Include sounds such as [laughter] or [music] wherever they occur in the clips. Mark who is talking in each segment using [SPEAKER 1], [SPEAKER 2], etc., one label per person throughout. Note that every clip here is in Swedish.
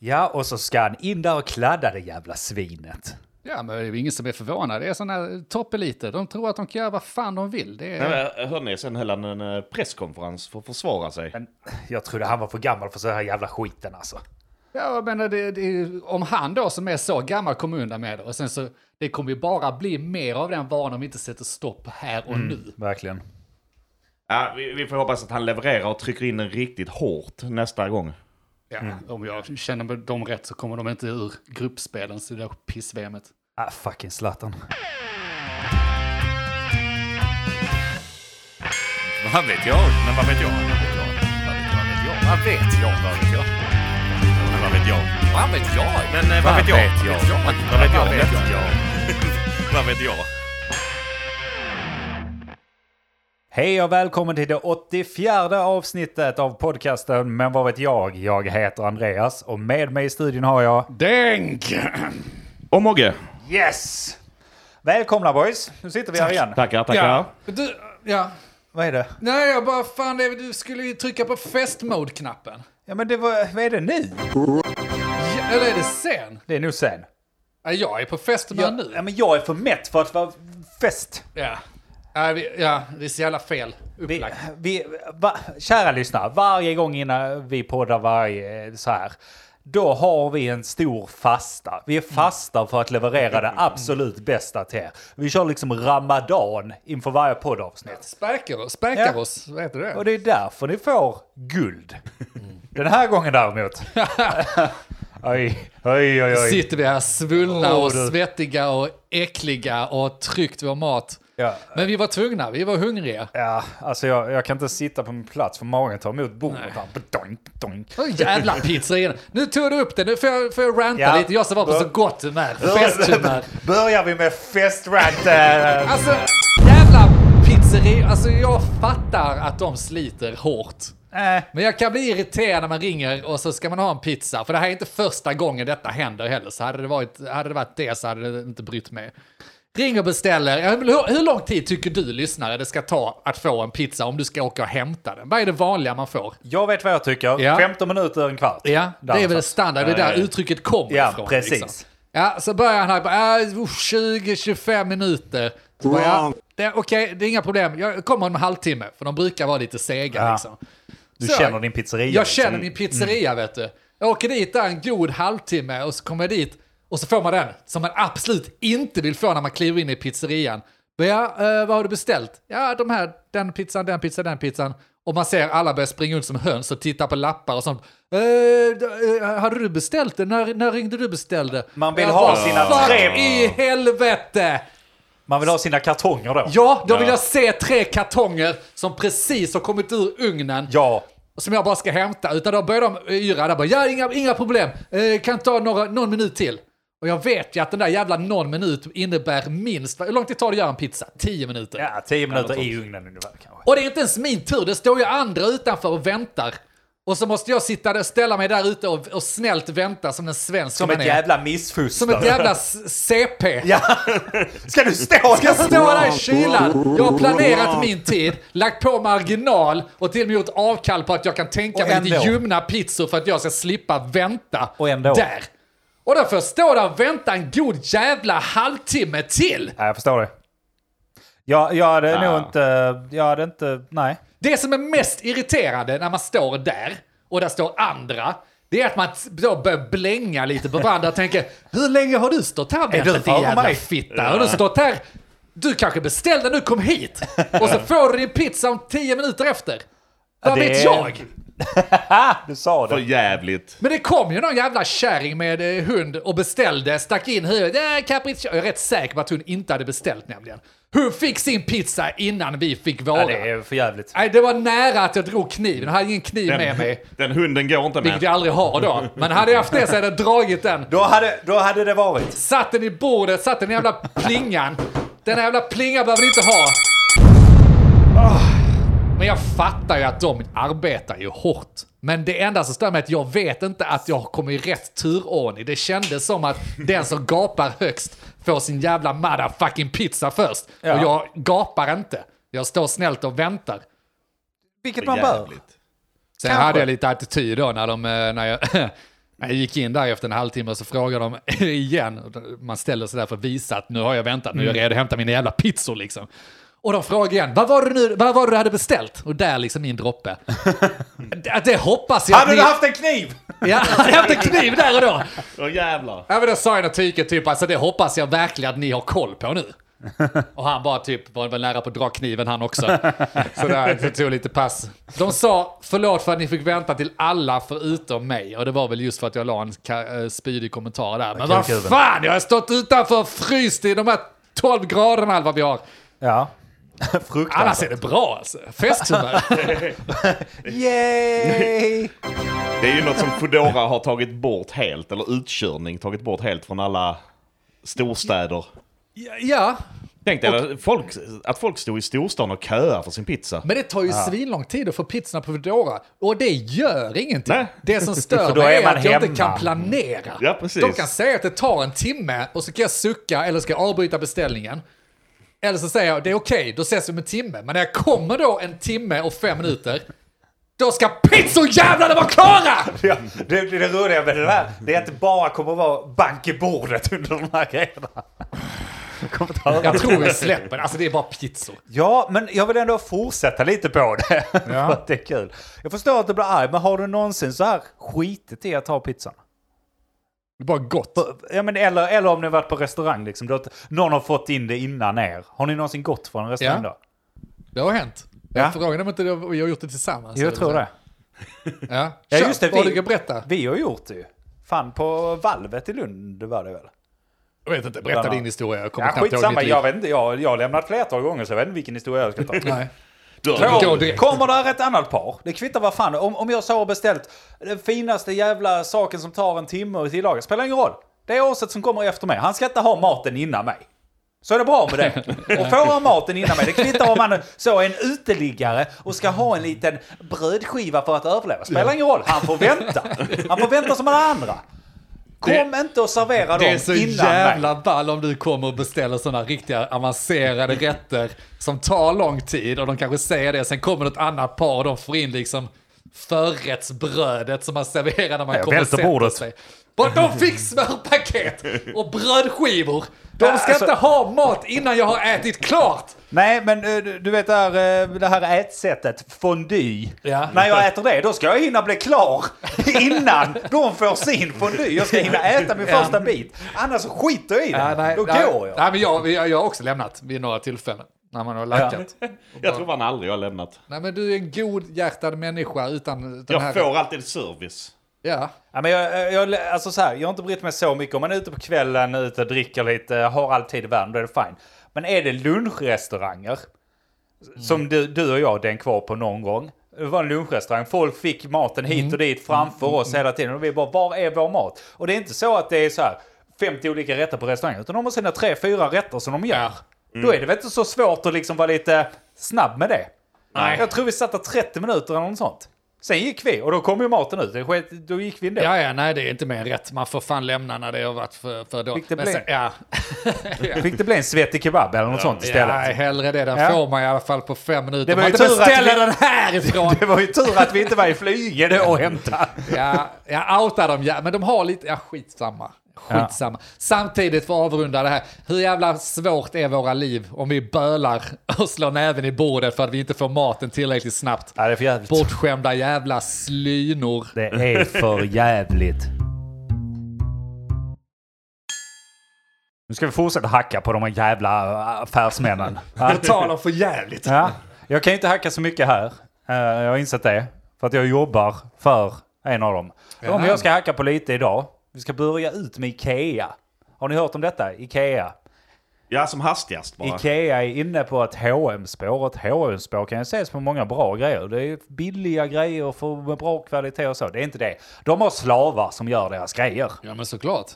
[SPEAKER 1] Ja, och så ska han in där och kladda det jävla svinet.
[SPEAKER 2] Ja, men det är ju ingen som är förvånad. Det är sådana här toppeliter. De tror att de kan göra vad fan de vill. Det är...
[SPEAKER 3] Nej, men, eh, hörni, sen höll han en eh, presskonferens för att försvara sig.
[SPEAKER 1] Men jag trodde han var för gammal för så här jävla skiten alltså.
[SPEAKER 2] Ja, jag menar, det, det, om han då som är så gammal kom undan med det, och sen så, det kommer ju bara bli mer av den varan om vi inte sätter stopp här och nu.
[SPEAKER 1] Verkligen.
[SPEAKER 3] Ja, vi, vi får hoppas att han levererar och trycker in den riktigt hårt nästa gång.
[SPEAKER 2] Ja, Mm. Om jag känner mig dem rätt så kommer de inte ur gruppspelen, så det där piss-VMet.
[SPEAKER 1] Ah, fucking Zlatan.
[SPEAKER 4] Vad vet jag? Men vad vet jag? Vad vet jag? Vad vet jag? Vad vet jag? Men vad vet jag? Vad vet jag? Men eh, vad vet jag? Vad vet jag? Vad vet jag? Vad vet jag?
[SPEAKER 1] Hej och välkommen till det 84 avsnittet av podcasten Men vad vet jag? Jag heter Andreas och med mig i studion har jag...
[SPEAKER 2] Denk!
[SPEAKER 3] Och Mogge.
[SPEAKER 1] Yes! Välkomna boys! Nu sitter vi här igen.
[SPEAKER 3] Tackar, tackar.
[SPEAKER 2] Ja. Du, ja.
[SPEAKER 1] Vad är det?
[SPEAKER 2] Nej, jag bara fan, det- du skulle ju trycka på festmode-knappen.
[SPEAKER 1] Ja men det var... Vad är det nu?
[SPEAKER 2] Ja, eller är det sen?
[SPEAKER 1] Det är nog sen.
[SPEAKER 2] Ja, jag är på festmode
[SPEAKER 1] Jag,
[SPEAKER 2] nu.
[SPEAKER 1] ja, men jag är för mätt för att vara fest.
[SPEAKER 2] Ja. Ja, vi, ja, det är så jävla fel
[SPEAKER 1] Vi,
[SPEAKER 2] upplagt.
[SPEAKER 1] vi, va, kära lyssnare, varje gång innan vi poddar varje eh, så här, då har vi en stor fasta. Vi är fasta för att leverera det absolut bästa till er. Vi kör liksom ramadan inför varje poddavsnitt.
[SPEAKER 2] Sparkar oss, sparkar
[SPEAKER 1] Ja.
[SPEAKER 2] oss, vad heter
[SPEAKER 1] Och
[SPEAKER 2] det?
[SPEAKER 1] det är därför ni får guld. Den här gången däremot. oj, oj, oj, oj.
[SPEAKER 2] Sitter vi här svullna och
[SPEAKER 1] Åh, du.
[SPEAKER 2] svettiga och äckliga och tryckt vår mat.
[SPEAKER 1] Ja.
[SPEAKER 2] Men vi var tvungna, vi var hungriga.
[SPEAKER 1] Ja, alltså jag, jag kan inte sitta på min plats för magen tar emot bordet. här. Doink, doink.
[SPEAKER 2] Åh, jävla pizza igen. Nu tog du upp det, nu får jag, får jag ranta
[SPEAKER 1] Ja.
[SPEAKER 2] lite. Jag som var på så gott humör, festhumör.
[SPEAKER 1] Börjar vi med eh, festrant?
[SPEAKER 2] Alltså, jävla pizzeria. Alltså jag fattar att de sliter hårt.
[SPEAKER 1] Äh,
[SPEAKER 2] Men jag kan bli irriterad när man ringer och så ska man ha en pizza. För det här är inte första gången detta händer heller. Så hade det varit, hade det, varit det så hade det inte brytt mig. Ring och beställer. Ja, men Hur, hur lång tid tycker du, lyssnare, det ska ta att få en pizza om du ska åka och hämta den? Vad är det vanliga man får?
[SPEAKER 1] jag vet vad jag tycker.
[SPEAKER 2] Ja.
[SPEAKER 1] 15 minuter, en kvart. alltså. Äh,
[SPEAKER 2] Ja, det är väl det
[SPEAKER 1] Någonstans.
[SPEAKER 2] standard. Det är där uttrycket kommer
[SPEAKER 1] Eh, Ja,
[SPEAKER 2] ifrån. liksom.
[SPEAKER 1] precis.
[SPEAKER 2] Ja, så börjar han här, bara, äh, 20-25 minuter. Så bara, ja, det- Okej, det är inga problem. Jag kommer om en halvtimme, för de brukar vara lite sega.
[SPEAKER 1] Ja.
[SPEAKER 2] Liksom.
[SPEAKER 1] Du
[SPEAKER 2] Så-
[SPEAKER 1] känner din pizzeria. liksom.
[SPEAKER 2] Jag känner min pizzeria,
[SPEAKER 1] Mm.
[SPEAKER 2] vet du. Jag åker dit där en god halvtimme och så kommer jag dit och så får man den som man absolut inte vill få när man kliver in i pizzerian. Men Ja, eh, vad har du beställt? Ja, de här, den pizzan, den pizzan, den pizzan. Och man ser alla börja springa runt som höns och titta på lappar och sånt. Eh, eh, hade du beställt det? När, när ringde du beställde?
[SPEAKER 1] Man vill
[SPEAKER 2] Jag
[SPEAKER 1] ha
[SPEAKER 2] bara,
[SPEAKER 1] sina
[SPEAKER 2] "Fuck
[SPEAKER 1] tre-
[SPEAKER 2] i helvete!
[SPEAKER 1] Man vill ha sina kartonger då.
[SPEAKER 2] Ja, då vill jag se tre kartonger som precis har kommit ur ugnen
[SPEAKER 1] Ja.
[SPEAKER 2] som jag bara ska hämta. Utan då börjar de yra där bara, ja inga, inga problem, eh, kan ta några, någon minut till. Och jag vet ju att den där jävla någon minut innebär minst, hur lång tid tar det att göra en pizza? 10 minuter.
[SPEAKER 1] Ja, 10 minuter i ugnen ungefär kanske.
[SPEAKER 2] Och det är inte ens min tur, det står ju andra utanför och väntar. Och så måste jag sitta där, ställa mig där ute och, och snällt vänta som en svensk
[SPEAKER 1] Som
[SPEAKER 2] man
[SPEAKER 1] ett
[SPEAKER 2] är.
[SPEAKER 1] jävla missfoster.
[SPEAKER 2] Som ett jävla s- CP.
[SPEAKER 1] Ja. Ska du stå
[SPEAKER 2] Jag ska stå där i kylan. Jag har planerat min tid, lagt på marginal och till och med gjort avkall på att jag kan tänka
[SPEAKER 1] Och
[SPEAKER 2] mig
[SPEAKER 1] ändå.
[SPEAKER 2] lite ljumna pizzor för att jag ska slippa vänta
[SPEAKER 1] Och ändå.
[SPEAKER 2] där. Och då får jag stå där och vänta en god jävla halvtimme till.
[SPEAKER 1] Ja, jag förstår det. Jag, jag hade nog inte... Jag hade inte... Nej.
[SPEAKER 2] Det som är mest irriterande när man står där och där står andra, det är att man då börjar blänga lite på varandra och tänker Hur länge har du stått här och
[SPEAKER 1] Är du
[SPEAKER 2] väntat din
[SPEAKER 1] före
[SPEAKER 2] jävla
[SPEAKER 1] mig?"
[SPEAKER 2] fitta? Har du stått här? Du kanske beställde när du kom hit och så får du din pizza om tio minuter efter. Vad
[SPEAKER 1] det
[SPEAKER 2] vet
[SPEAKER 1] är-
[SPEAKER 2] jag?
[SPEAKER 1] Du sa
[SPEAKER 3] För
[SPEAKER 1] det.
[SPEAKER 3] jävligt.
[SPEAKER 2] Men det kom ju någon jävla kärring med eh, hund och beställde, stack in huvudet. Äh, capriccio. Jag är rätt säker på att hon inte hade beställt nämligen. Hon fick sin pizza innan vi fick våra.
[SPEAKER 1] Ja, det är för jävligt.
[SPEAKER 2] Nej, det var nära att jag drog kniven. Jag hade ingen kniv med mig.
[SPEAKER 3] den hunden går inte
[SPEAKER 2] Vilket
[SPEAKER 3] med.
[SPEAKER 2] jag aldrig har då. Men hade jag haft det så hade jag dragit den.
[SPEAKER 1] Då hade, då hade det varit.
[SPEAKER 2] Satt den i bordet, satt den i jävla plingan. Den här jävla plingan behöver ni inte ha. Ah. Men jag fattar ju att de arbetar ju hårt. Men det enda som stör mig är att jag vet inte att jag kommer i rätt turordning. Det kändes som att den som gapar högst får sin jävla motherfucking pizza först. Och jag gapar inte. Jag står snällt och väntar.
[SPEAKER 1] Vilket
[SPEAKER 3] För
[SPEAKER 1] man bör.
[SPEAKER 3] jävligt.
[SPEAKER 2] Sen
[SPEAKER 1] Kanske.
[SPEAKER 2] hade jag [laughs] lite attityd då när de, eh, när jag, Jag gick in där efter en halvtimme och så frågade de [laughs] igen. Man ställer sig där för att visa att nu har jag väntat, nu är jag
[SPEAKER 4] Mm.
[SPEAKER 2] redo att hämta mina jävla pizzor liksom. Och de frågade igen, vad var det, nu, vad var det du hade beställt? Och där liksom
[SPEAKER 4] [laughs]
[SPEAKER 2] min droppe. det, det hoppas jag
[SPEAKER 4] Hade du haft en kniv?
[SPEAKER 2] Ja, hade jag haft en kniv där och då?
[SPEAKER 3] Åh jävlar.
[SPEAKER 2] Ja men då sa jag något tyke typ, alltså det hoppas jag verkligen att ni har koll på nu. Och han bara typ, var väl nära på att dra kniven han [laughs] också. Så där, det tog lite pass. De sa, förlåt för att ni fick vänta till alla förutom mig. Och det var väl just för att jag la en ka- eh, spydig kommentar där. Men vad
[SPEAKER 1] kuken.
[SPEAKER 2] fan, jag har stått utanför och fryst i de här 12 graderna eller vad vi har.
[SPEAKER 1] Ja.
[SPEAKER 2] Annars
[SPEAKER 1] [laughs] Fruktansvärt.
[SPEAKER 2] är det bra alltså. Festhumör.
[SPEAKER 1] Yay!
[SPEAKER 3] Det är ju något som Foodora har tagit bort helt, eller utkörning tagit bort helt från alla storstäder.
[SPEAKER 2] [laughs] ja,
[SPEAKER 3] Tänk dig att folk, att folk stod i storstan och köade för sin pizza.
[SPEAKER 2] men det tar ju svinlång tid att få pizzorna på Foodora. Och det gör ingenting.
[SPEAKER 3] Nej.
[SPEAKER 1] [laughs]
[SPEAKER 2] Det som stör
[SPEAKER 1] För då
[SPEAKER 2] mig
[SPEAKER 1] är
[SPEAKER 2] är,
[SPEAKER 1] man
[SPEAKER 2] att jag
[SPEAKER 1] hemma.
[SPEAKER 2] inte kan planera.
[SPEAKER 3] Ja, precis.
[SPEAKER 2] De kan säga att det tar en timme och så kan jag sucka eller ska jag avbryta beställningen. Eller så säger jag, det är okej, då ses vi om en timme. Men när jag kommer då en timme och fem minuter, då ska pizzojävlarna vara klara!
[SPEAKER 1] Ja, det, det, det roliga med det där det är att det bara kommer att vara bank i bordet under de här grejerna. Kommer att höra.
[SPEAKER 2] Jag tror vi släpper, alltså det är bara pizzor.
[SPEAKER 1] Ja, men jag vill ändå fortsätta lite på det. [laughs] För att det är kul. Jag förstår att du blir arg, men har du någonsin så här skitit i att ha pizzan?
[SPEAKER 2] Det är bara gott.
[SPEAKER 1] Ja, men eller, eller om ni har varit på restaurang, liksom, då, att någon har fått in det innan er. Har ni någonsin gått från en restaurang
[SPEAKER 2] Ja.
[SPEAKER 1] då?
[SPEAKER 2] Det har hänt. Jag
[SPEAKER 1] Ja.
[SPEAKER 2] frågade om inte det- vi har gjort det tillsammans.
[SPEAKER 1] Jo, jag tror det.
[SPEAKER 2] Ja,
[SPEAKER 1] Ja,
[SPEAKER 2] Kör,
[SPEAKER 1] just det,
[SPEAKER 2] vad
[SPEAKER 1] vi-
[SPEAKER 2] du kan berätta.
[SPEAKER 1] Vi har gjort det ju. Fan, på valvet i Lund var det väl?
[SPEAKER 2] Jag vet inte, berätta
[SPEAKER 1] Bland
[SPEAKER 2] din historia. Jag kommer
[SPEAKER 1] Ja,
[SPEAKER 2] knappt ihåg
[SPEAKER 1] skitsamma,
[SPEAKER 2] mitt
[SPEAKER 1] jag
[SPEAKER 2] liv.
[SPEAKER 1] vet inte. Jag, jag har lämnat flertal gånger så jag vet inte vilken historia jag ska ta.
[SPEAKER 2] [laughs] Nej.
[SPEAKER 3] Du,
[SPEAKER 2] Gå
[SPEAKER 1] Kom-
[SPEAKER 2] direkt.
[SPEAKER 1] Kommer där ett annat par, det kvittar vad fan, om, om jag så har beställt den finaste jävla saken som tar en timme att tillaga, spelar ingen roll. Det är Åset som kommer efter mig, han ska inte ha maten innan mig. Så är det bra med
[SPEAKER 2] [laughs]
[SPEAKER 1] det. Och får han maten innan mig, det kvittar om han så är en uteliggare och ska ha en liten brödskiva för att överleva. Spelar ingen roll, han får vänta. Han får vänta som alla andra. Kom inte och servera
[SPEAKER 2] Det
[SPEAKER 1] dem
[SPEAKER 2] är så
[SPEAKER 1] innan mig.
[SPEAKER 2] jävla ball om du kommer och beställer sådana riktiga avancerade rätter som tar lång tid och de kanske säger det, sen kommer något annat par och de får in liksom förrättsbrödet som man serverar när man
[SPEAKER 1] Jag
[SPEAKER 2] kommer och
[SPEAKER 1] välter
[SPEAKER 2] sätter
[SPEAKER 1] bordet.
[SPEAKER 2] sig. Bara, De fick smörpaket och brödskivor. De ska
[SPEAKER 1] Alltså-
[SPEAKER 2] inte ha mat innan jag har ätit klart.
[SPEAKER 1] Nej, men eh, du du vet det här, eh, det här ätsättet, fondue.
[SPEAKER 2] Ja.
[SPEAKER 1] När jag äter det, då ska jag hinna bli klar [laughs] innan de får sin fondue. Jag ska hinna äta min första bit. Annars så skiter jag i det.
[SPEAKER 2] Ja, nej,
[SPEAKER 1] då
[SPEAKER 2] nej,
[SPEAKER 1] går jag.
[SPEAKER 2] Nej, men jag, jag. Jag har också lämnat vid några tillfällen när man har lackat.
[SPEAKER 3] jag tror fan aldrig jag har lämnat.
[SPEAKER 2] Nej men du är en godhjärtad människa utan den här...
[SPEAKER 3] Jag får alltid service.
[SPEAKER 2] Ja.
[SPEAKER 1] Ja, men jag, jag, alltså så här, jag har inte brytt mig så mycket. Om man är ute på kvällen, ute och dricker lite, har all tid i världen, då är det fine. Men är det lunchrestauranger, som du, du och jag den kvar på någon gång. Det var en lunchrestaurang, folk fick maten hit och dit framför oss hela tiden. Och vi bara, var är vår mat? Och det är inte så att det är så här 50 olika rätter på restaurangen, utan de har sina tre, fyra rätter som de gör. Då är det väl inte så svårt att liksom vara lite snabb med det.
[SPEAKER 3] Nej.
[SPEAKER 1] Jag tror vi satt där 30 minuter eller något sånt. Sen gick vi och då kom ju maten ut. Det sket- Då gick vi ändå.
[SPEAKER 2] Ja, ja, nej det är inte mer än rätt. Man får fan lämna när det har varit för, för dåligt.
[SPEAKER 1] Fick det bli?
[SPEAKER 2] sen- ja.
[SPEAKER 1] Fick det bli en svettig kebab eller något sånt istället?
[SPEAKER 2] ja, hellre det. Där
[SPEAKER 1] Ja.
[SPEAKER 2] får man i alla fall på fem minuter.
[SPEAKER 1] Det var
[SPEAKER 2] man
[SPEAKER 1] ju
[SPEAKER 2] inte
[SPEAKER 1] tur att
[SPEAKER 2] beställer
[SPEAKER 1] vi-
[SPEAKER 2] den härifrån.
[SPEAKER 1] [laughs] Det var ju tur att vi inte var i Flyinge och hämtade.
[SPEAKER 2] ja, jag outar dem, ja, men de har lite, ja skitsamma. Skitsamma. Samtidigt för att avrunda det här, hur jävla svårt är våra liv om vi bölar och slår näven i bordet för att vi inte får maten tillräckligt snabbt?
[SPEAKER 1] Ja, det är för jävligt.
[SPEAKER 2] Bortskämda jävla slynor.
[SPEAKER 1] Det är för jävligt. Nu ska vi fortsätta hacka på de här jävla affärsmännen. Ja.
[SPEAKER 2] Betalar för jävligt.
[SPEAKER 1] Ja. Jag kan ju inte hacka så mycket här. Eh, Jag har insett det. För att jag jobbar för en av dem. Om jag ska hacka på lite idag. Vi ska börja ut med Ikea. Har ni hört om detta? Ikea.
[SPEAKER 3] Ja, som hastigast bara.
[SPEAKER 1] Ikea är inne på ett hm spår Ett hm spår kan ju ses på många bra grejer. Det är billiga grejer för, med bra kvalitet och så. Det är inte det. De har slavar som gör deras grejer.
[SPEAKER 2] Ja men såklart.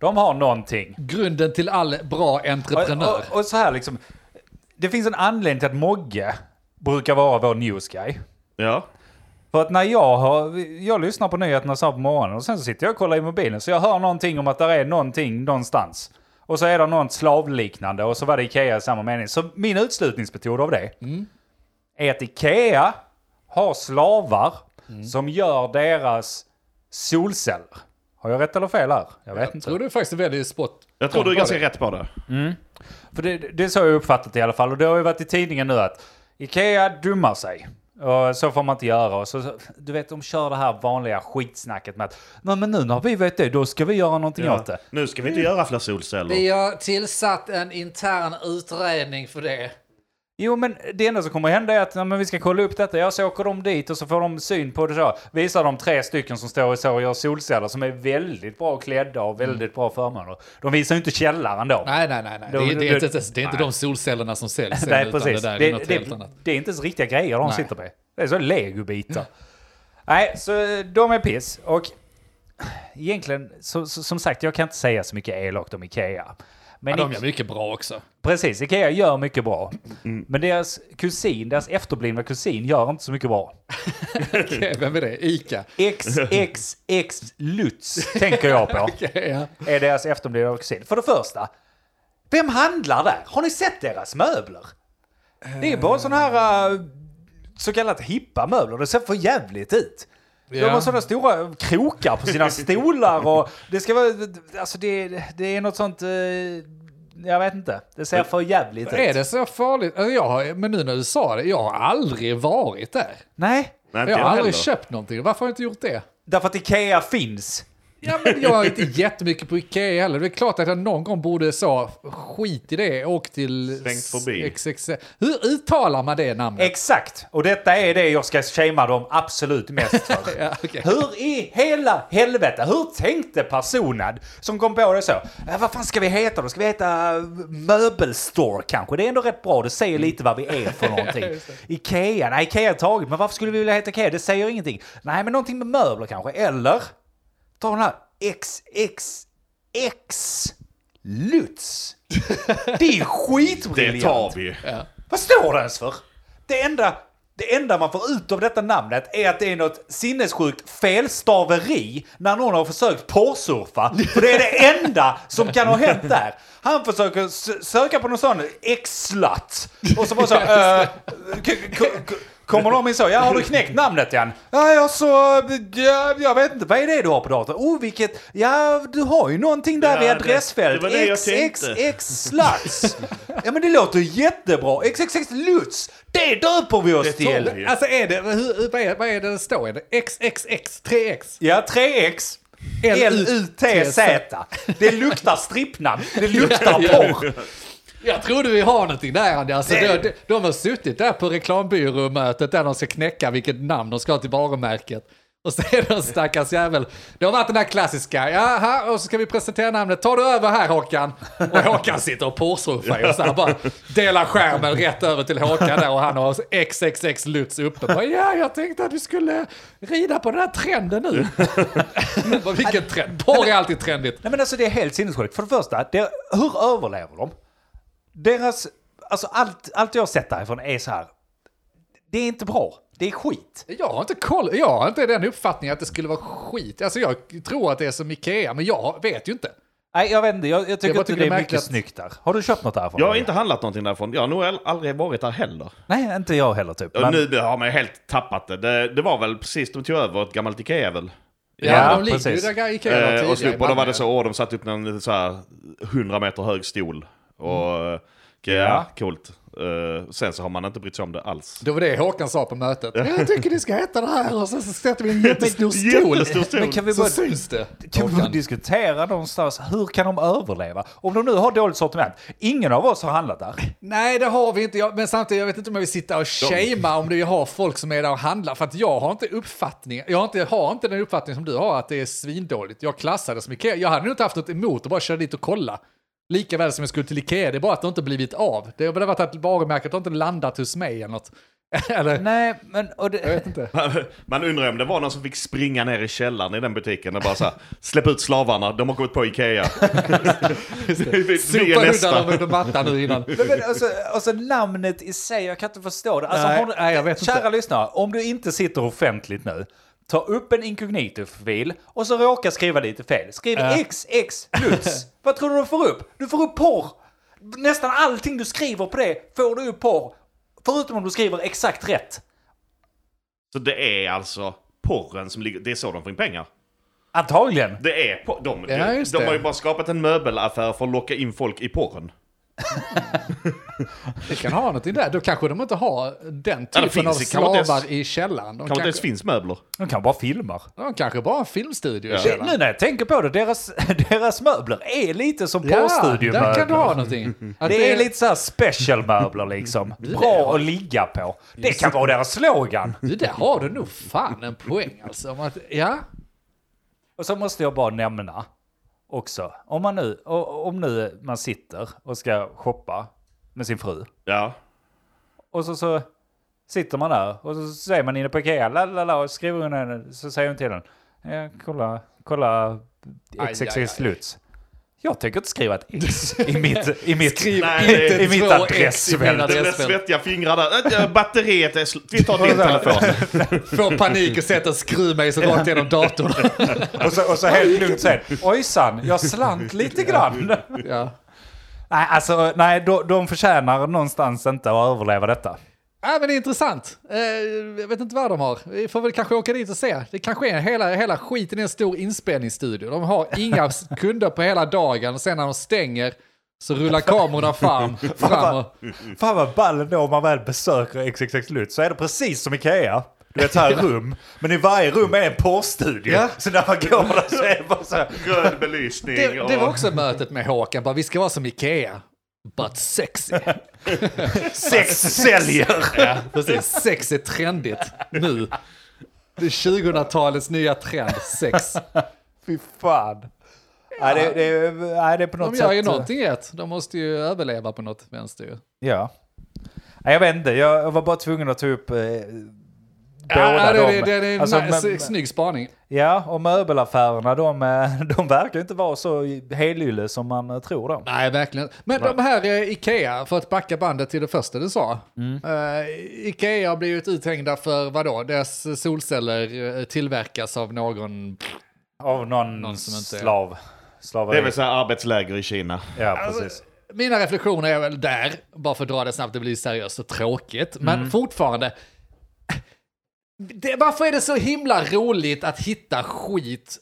[SPEAKER 1] De har någonting.
[SPEAKER 2] Grunden till all bra entreprenör.
[SPEAKER 1] Och, och, och så här liksom. Det finns en anledning till att Mogge brukar vara vår news guy.
[SPEAKER 3] Ja.
[SPEAKER 1] För att när jag har, jag lyssnar på nyheterna så här på morgonen och sen så sitter jag och kollar i mobilen så jag hör någonting om att det är någonting någonstans. Och så är det något slavliknande och så var det Ikea i samma mening. Så min utslutningsmetod av det är att Ikea har slavar som gör deras solceller. Har jag rätt eller fel här? Jag vet inte.
[SPEAKER 2] Tror du faktiskt väljer spot?
[SPEAKER 3] Jag tror du är ganska rätt på det.
[SPEAKER 1] För det, det är så jag har uppfattat det i alla fall. Och det har ju varit i tidningen nu att Ikea dummar sig. Och så får man inte göra. Och så, så- du vet, de kör det här vanliga skitsnacket med att Nej, men nu när vi vet det, då ska vi göra någonting åt det.
[SPEAKER 3] Nu ska vi inte göra fler solceller.
[SPEAKER 2] Vi har tillsatt en intern utredning för det.
[SPEAKER 1] Jo, men det enda som kommer hända är att nej, men vi ska kolla upp detta. Ja, så åker de dit och så får de syn på det så. Visar de tre stycken som står och så och gör solceller som är väldigt bra klädda och väldigt bra förmåner. De visar ju inte källaren då.
[SPEAKER 2] Nej, nej, nej. nej. Det,
[SPEAKER 1] Då-
[SPEAKER 2] är- det, är
[SPEAKER 1] då-
[SPEAKER 2] inte, det är inte de solcellerna som säljs.
[SPEAKER 1] Nej,
[SPEAKER 2] utan
[SPEAKER 1] precis.
[SPEAKER 2] Det, där, är något
[SPEAKER 1] det,
[SPEAKER 2] helt annat.
[SPEAKER 1] det är inte ens riktiga grejer de
[SPEAKER 2] Nej.
[SPEAKER 1] sitter med. Det är så legobitar. Nej, så de är piss. Och egentligen, så, så, som sagt, jag kan inte säga så mycket elakt om Ikea. Men
[SPEAKER 2] Ja, de
[SPEAKER 1] I-
[SPEAKER 2] gör mycket bra också.
[SPEAKER 1] precis, Ikea gör mycket bra. Men deras kusin, deras efterblivna kusin, gör inte så mycket bra.
[SPEAKER 2] Okej, vem är det? Ica?
[SPEAKER 1] XXX Lutz tänker jag på.
[SPEAKER 2] Okej, ja.
[SPEAKER 1] Är deras efterblivna kusin. För det första, vem handlar där? Har ni sett deras möbler? Det är bara sådana här eh, så kallat hippa möbler. Det ser för jävligt ut. De
[SPEAKER 2] Ja.
[SPEAKER 1] har sådana stora krokar på
[SPEAKER 2] [laughs]
[SPEAKER 1] sina stolar och det ska vara... Alltså det, det är något sånt... eh, Jag vet inte. Det ser för jävligt ut.
[SPEAKER 2] Är det så farligt? Alltså, jag har, men nu när du sa det, jag har aldrig varit där.
[SPEAKER 1] Nej,
[SPEAKER 3] Nej, inte
[SPEAKER 2] Jag har aldrig
[SPEAKER 3] heller.
[SPEAKER 2] köpt någonting. Varför har jag inte gjort det?
[SPEAKER 1] därför att Ikea finns.
[SPEAKER 2] Ja, men jag har inte jättemycket på Ikea heller. Det är klart att jag någon gång borde så, skit i det, åk till...
[SPEAKER 3] Svängt förbi.
[SPEAKER 2] XXL. Hur uttalar man det namnet?
[SPEAKER 1] Exakt, och detta är det jag ska shamea dem absolut mest för.
[SPEAKER 2] [laughs] Ja, okej.
[SPEAKER 1] Hur i hela helvete, hur tänkte personen som kom på det så? Äh, vad fan ska vi heta då? Ska vi heta eh, Möbelstore kanske? Det är ändå rätt bra, det säger
[SPEAKER 2] Mm.
[SPEAKER 1] lite vad vi är
[SPEAKER 2] [laughs]
[SPEAKER 1] för någonting. Ikea, nej Ikea är taget, men varför skulle vi vilja heta Ikea? Det säger ingenting. Nej, men någonting med möbler kanske, eller? Ta den här XXX Lutz.
[SPEAKER 2] [laughs]
[SPEAKER 1] Det är
[SPEAKER 3] Det
[SPEAKER 1] skitbriljant.
[SPEAKER 3] tar vi.
[SPEAKER 1] Vad står det ens för? Det enda, det enda man får ut av detta namnet är att det är något sinnessjukt felstaveri när någon har försökt porrsurfa. För det är det enda som kan ha hänt där. Han försöker s- söka på någon sån exlat och så bara
[SPEAKER 3] [laughs]
[SPEAKER 1] så... eh, k- k- k- Kommer de in så, ja har du knäckt namnet igen? Ja, jag så, ja, jag vet inte, vad är det du har på datorn? Oh, vilket, ja du har ju någonting där
[SPEAKER 3] Ja,
[SPEAKER 1] i
[SPEAKER 3] det-
[SPEAKER 1] adressfält.
[SPEAKER 3] det var det jag
[SPEAKER 1] XXX
[SPEAKER 3] tänkte.
[SPEAKER 1] X Sluts. Ja men det låter jättebra. XXX Lutz. Det döper vi oss
[SPEAKER 3] tar
[SPEAKER 1] till.
[SPEAKER 3] vi.
[SPEAKER 2] Alltså är det, hur, vad, är, vad är det det står? Är det XXX, 3X?
[SPEAKER 1] Ja, 3X. L-U-T-Z. Det luktar strippnamn. Det luktar porr.
[SPEAKER 2] Jag trodde vi har någonting där Andy. Alltså,
[SPEAKER 1] Det-
[SPEAKER 2] de, de, de har suttit där på reklambyråmötet där de ska knäcka vilket namn de ska ha till varumärket. Och så är det en stackars jävel. Det har varit den där klassiska, jaha, och så ska vi presentera namnet. Tar du över här Håkan? Och Håkan sitter och porrsurfar ju och så här bara delar skärmen rätt över till Håkan där och han har XXX Lutz uppe. Bara, ja, jag tänkte att du skulle rida på den här trenden nu. Bara, Vilken trend? Porr är alltid trendigt.
[SPEAKER 1] Nej men alltså det är helt sinnessjukt. För det första, det, hur överlever de? Deras, alltså allt, allt jag har sett därifrån är så här. Det är inte bra. Det är skit.
[SPEAKER 2] Jag har inte koll, jag har inte den uppfattningen att det skulle vara skit. Alltså jag tror att det är som Ikea, men jag vet ju inte.
[SPEAKER 1] Nej jag vet inte, jag, jag tycker
[SPEAKER 2] bara
[SPEAKER 1] inte
[SPEAKER 2] tycker
[SPEAKER 1] det
[SPEAKER 2] det
[SPEAKER 1] är
[SPEAKER 2] är
[SPEAKER 1] mycket
[SPEAKER 2] märkligt.
[SPEAKER 1] snyggt där. Har du köpt något därifrån?
[SPEAKER 3] Jag har inte handlat någonting därifrån. Jag har nog all- aldrig varit där heller.
[SPEAKER 1] Nej, inte jag heller typ.
[SPEAKER 3] Ja, Nu har man ju helt tappat det. det. Det var väl precis, de tog över ett gammalt Ikea väl?
[SPEAKER 2] Ja,
[SPEAKER 1] Ja,
[SPEAKER 2] de ligger ju
[SPEAKER 1] precis.
[SPEAKER 2] där Ikea tidigare
[SPEAKER 3] Eh, och
[SPEAKER 2] i
[SPEAKER 3] slog, och då var
[SPEAKER 2] Malmö.
[SPEAKER 3] det så, åh, de satte upp någon så här 100 meter hög stol. Och
[SPEAKER 2] Mm.
[SPEAKER 3] eh, ja, coolt. Eh, sen så har man inte brytt sig om det alls.
[SPEAKER 2] Det var det Håkan sa på mötet. Jag tycker ni ska heta det här och sen så sätter
[SPEAKER 3] [laughs]
[SPEAKER 2] vi en jättestor stol.
[SPEAKER 3] Jättestor stol.
[SPEAKER 1] Men kan vi
[SPEAKER 2] Så
[SPEAKER 1] bara
[SPEAKER 2] syns det.
[SPEAKER 1] Kan vi
[SPEAKER 2] Håkan.
[SPEAKER 1] diskutera någonstans, hur kan de överleva? Om de nu har dåligt sortiment, ingen av oss har handlat där.
[SPEAKER 2] Nej, det har vi inte. Jag, men samtidigt, jag vet inte om jag vill sitta och shamea om det vi har folk som är där och handlar. För att jag har inte uppfattningen, jag har inte, har inte den uppfattningen som du har att det är svindåligt. Jag klassar det som Ikea. Jag hade nog inte haft något emot att bara köra dit och kolla. Lika väl som jag skulle till Ikea, det är bara att det inte blivit av. Det har bara varit att varumärket har inte landat hos mig eller något. [laughs] eller,
[SPEAKER 1] [laughs] Nej, men... Och
[SPEAKER 2] jag
[SPEAKER 1] det,
[SPEAKER 2] vet inte.
[SPEAKER 3] [laughs] Man undrar om det var någon som fick springa ner i källaren i den butiken och bara så här, släpp ut slavarna, de har gått på Ikea.
[SPEAKER 2] [laughs]
[SPEAKER 3] vi, vi är
[SPEAKER 2] Sopa undan
[SPEAKER 3] nästa.
[SPEAKER 2] dem under mattan nu
[SPEAKER 3] [laughs]
[SPEAKER 2] innan.
[SPEAKER 1] men, men alltså, alltså namnet i sig, jag kan inte förstå det. Alltså,
[SPEAKER 2] Nej,
[SPEAKER 1] har du,
[SPEAKER 2] nej, jag vet
[SPEAKER 1] kära
[SPEAKER 2] inte.
[SPEAKER 1] lyssnare, om du inte sitter offentligt nu, ta upp en inkognito-fil och så råkar skriva lite fel. Skriv XX [laughs] plus. Vad tror du du får upp? Du får upp porr. Nästan allting du skriver på det får du upp porr. Förutom om du skriver exakt rätt.
[SPEAKER 3] Så det är alltså porren som ligger, det är så de får in pengar.
[SPEAKER 1] Antagligen.
[SPEAKER 3] Det är på, de,
[SPEAKER 2] Ja,
[SPEAKER 3] de,
[SPEAKER 2] just
[SPEAKER 3] de
[SPEAKER 2] det.
[SPEAKER 3] har ju bara skapat en möbelaffär för att locka in folk i porren.
[SPEAKER 2] Det kan ha någonting där. Då kanske de inte har den
[SPEAKER 3] Ja, det
[SPEAKER 2] typen av
[SPEAKER 3] finns- kan man inte ens-
[SPEAKER 2] slavar i källaren. De
[SPEAKER 3] Kanske inte ens
[SPEAKER 2] kanske,
[SPEAKER 3] finns möbler.
[SPEAKER 1] De kan bara filmar.
[SPEAKER 2] de kanske bara har en filmstudio i
[SPEAKER 3] Ja.
[SPEAKER 1] Det,
[SPEAKER 2] källaren.
[SPEAKER 1] nu när jag tänker på det, deras, [laughs] deras möbler är lite som
[SPEAKER 2] där kan du ha
[SPEAKER 1] porrstudiomöbler.
[SPEAKER 2] [laughs] någonting. Att
[SPEAKER 1] Det är lite såhär specialmöbler liksom. Bra att ligga på. Det kan vara deras slogan.
[SPEAKER 2] Du, där har du nog fan en poäng alltså. Om att, ja,
[SPEAKER 1] Och så måste jag bara nämna också, om man nu, o- om nu man sitter och ska shoppa med sin fru.
[SPEAKER 3] Ja.
[SPEAKER 1] Och så, så sitter man där och så säger man inne på Ikea, la la la, och skriver hon en, så säger hon till den, ja, kolla, kolla
[SPEAKER 2] aj,
[SPEAKER 1] XXX
[SPEAKER 2] aj.
[SPEAKER 1] Lutz. Jag tänker inte skriva ett X
[SPEAKER 2] [laughs]
[SPEAKER 1] i mitt, i mitt,
[SPEAKER 2] Skriv
[SPEAKER 3] Nej,
[SPEAKER 1] i,
[SPEAKER 3] inte
[SPEAKER 1] i mitt
[SPEAKER 2] två X i mina
[SPEAKER 1] adressfält.
[SPEAKER 3] Den där
[SPEAKER 2] Espen.
[SPEAKER 3] svettiga fingrar där. Äh, Batteriet är slut. Vi
[SPEAKER 2] [laughs]
[SPEAKER 3] tar din telefon.
[SPEAKER 2] får panik och sätter skruvmejsel rakt genom datorn.
[SPEAKER 1] Och så, och så helt lugnt sen, ojsan, jag slant lite
[SPEAKER 2] [laughs]
[SPEAKER 1] grann.
[SPEAKER 2] [laughs] Ja.
[SPEAKER 1] Nej, alltså, nej, de, de förtjänar någonstans inte att överleva detta.
[SPEAKER 2] Ja, men det är intressant. Eh, jag vet inte vad de har. Vi får väl kanske åka dit och se. Det kanske är hela, hela skiten i en stor inspelningsstudio. De har inga s- [laughs] kunder på hela dagen och sen när de stänger så rullar
[SPEAKER 1] [laughs]
[SPEAKER 2] kamerorna fram. fram och,
[SPEAKER 1] Fan vad ball då om man väl besöker XXX Lutz så är det precis som Ikea. Du vet så här rum, men i varje rum är en porrstudio.
[SPEAKER 2] Ja.
[SPEAKER 1] Så när man går där så är det bara så här.
[SPEAKER 3] Röd belysning.
[SPEAKER 2] det, det var [laughs]
[SPEAKER 3] och-
[SPEAKER 2] också mötet med Håkan, bara, vi ska vara som Ikea. But sexy.
[SPEAKER 1] Sex säljer!
[SPEAKER 2] Precis, sex är trendigt nu. Det är 2000-talets nya trend, [laughs] sex.
[SPEAKER 1] Fy fan. Nej, det, det, nej, det är på något
[SPEAKER 2] De
[SPEAKER 1] sätt... eh,
[SPEAKER 2] gör ju någonting rätt. De måste ju överleva på något vänster ju.
[SPEAKER 1] Ja. Nej, jag vet inte, jag var bara tvungen att ta upp eh, båda
[SPEAKER 2] Ja, det, det,
[SPEAKER 1] dem.
[SPEAKER 2] det, det är en
[SPEAKER 1] Alltså,
[SPEAKER 2] nice,
[SPEAKER 1] men-
[SPEAKER 2] snygg spaning.
[SPEAKER 1] Ja, och möbelaffärerna de, eh, de verkar ju inte vara så helylle som man eh, tror dem.
[SPEAKER 2] Nej, verkligen. Men de här eh, Ikea, för att backa bandet till det första du sa.
[SPEAKER 1] Mm.
[SPEAKER 2] Eh, Ikea har blivit uthängda för vadå? Deras solceller eh, tillverkas av någon...
[SPEAKER 1] Av någon,
[SPEAKER 2] Någon som inte är-
[SPEAKER 1] slav.
[SPEAKER 3] Det
[SPEAKER 1] Slaveri.
[SPEAKER 3] är väl så här arbetsläger i Kina.
[SPEAKER 1] Ja, precis.
[SPEAKER 2] Mina reflektioner är väl där, bara för att dra det snabbt, det blir seriöst och tråkigt. Men fortfarande, det, varför är det så himla roligt att hitta skit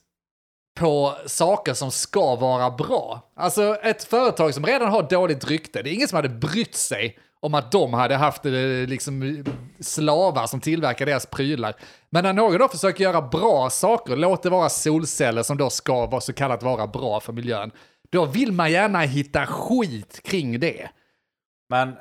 [SPEAKER 2] på saker som ska vara bra? Alltså ett företag som redan har dåligt rykte, det är ingen som hade brytt sig om att de hade haft eh, liksom, slavar som tillverkar deras prylar. Men när någon då försöker göra bra saker, låt det vara solceller som då ska vara så kallat vara bra för miljön, då vill man gärna hitta skit kring det.
[SPEAKER 1] Men,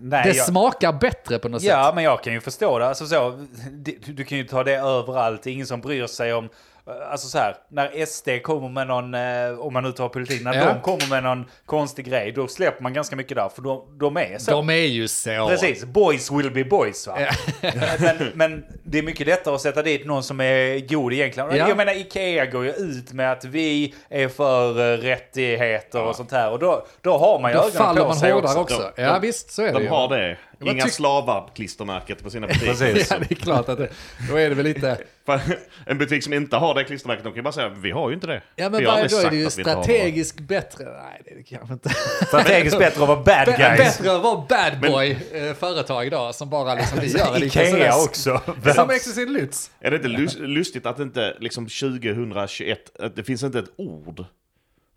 [SPEAKER 1] nej.
[SPEAKER 2] Det
[SPEAKER 1] jag-
[SPEAKER 2] smakar bättre på något sätt.
[SPEAKER 1] Ja, men jag kan ju förstå det. Alltså, så, det- du, du kan ju ta det överallt. Det är ingen som bryr sig om... eh, Alltså så här, när SD kommer med någon, eh, om man nu tar politik, när
[SPEAKER 2] Ja.
[SPEAKER 1] de kommer med någon konstig grej, då släpper man ganska mycket där, för de, de är så.
[SPEAKER 2] De är ju så.
[SPEAKER 1] Precis, boys will be boys va? Eh, men, men det är mycket lättare att sätta dit någon som är god egentligen.
[SPEAKER 2] Ja.
[SPEAKER 1] Jag menar Ikea går ju ut med att vi är för eh, rättigheter och sånt här. Och då, då har man ju
[SPEAKER 2] Då
[SPEAKER 1] ögonen
[SPEAKER 2] faller
[SPEAKER 1] på
[SPEAKER 2] man
[SPEAKER 1] sig
[SPEAKER 2] hårdare
[SPEAKER 1] också.
[SPEAKER 2] också.
[SPEAKER 3] De-
[SPEAKER 2] ja
[SPEAKER 3] de-
[SPEAKER 2] visst, så är det
[SPEAKER 3] De
[SPEAKER 2] ju.
[SPEAKER 3] har det.
[SPEAKER 2] Vad
[SPEAKER 3] Inga
[SPEAKER 2] tyck-
[SPEAKER 3] slavar klistermärket på sina butiker.
[SPEAKER 1] Precis.
[SPEAKER 2] [laughs] Ja, det är klart att det, då är det väl lite...
[SPEAKER 3] [laughs] För En butik som inte har det klistermärket, de kan ju bara säga vi har ju inte det.
[SPEAKER 2] Ja
[SPEAKER 3] Vi
[SPEAKER 2] men
[SPEAKER 3] har
[SPEAKER 2] bara,
[SPEAKER 3] aldrig
[SPEAKER 2] då är
[SPEAKER 3] sagt
[SPEAKER 2] det ju
[SPEAKER 3] att vi inte har
[SPEAKER 2] strategiskt bättre. Nej, det är det kanske inte.
[SPEAKER 1] Strategiskt bättre att vara bad
[SPEAKER 2] Bä-
[SPEAKER 1] guys.
[SPEAKER 2] Bättre att vara bad boy-företag idag som bara liksom vi
[SPEAKER 1] [laughs]
[SPEAKER 2] gör. lite
[SPEAKER 1] Ikea
[SPEAKER 2] sådär-
[SPEAKER 1] också.
[SPEAKER 2] Som Exit Lutz.
[SPEAKER 3] bra. Är det inte lus- lustigt att det inte liksom 2021, att det finns inte ett ord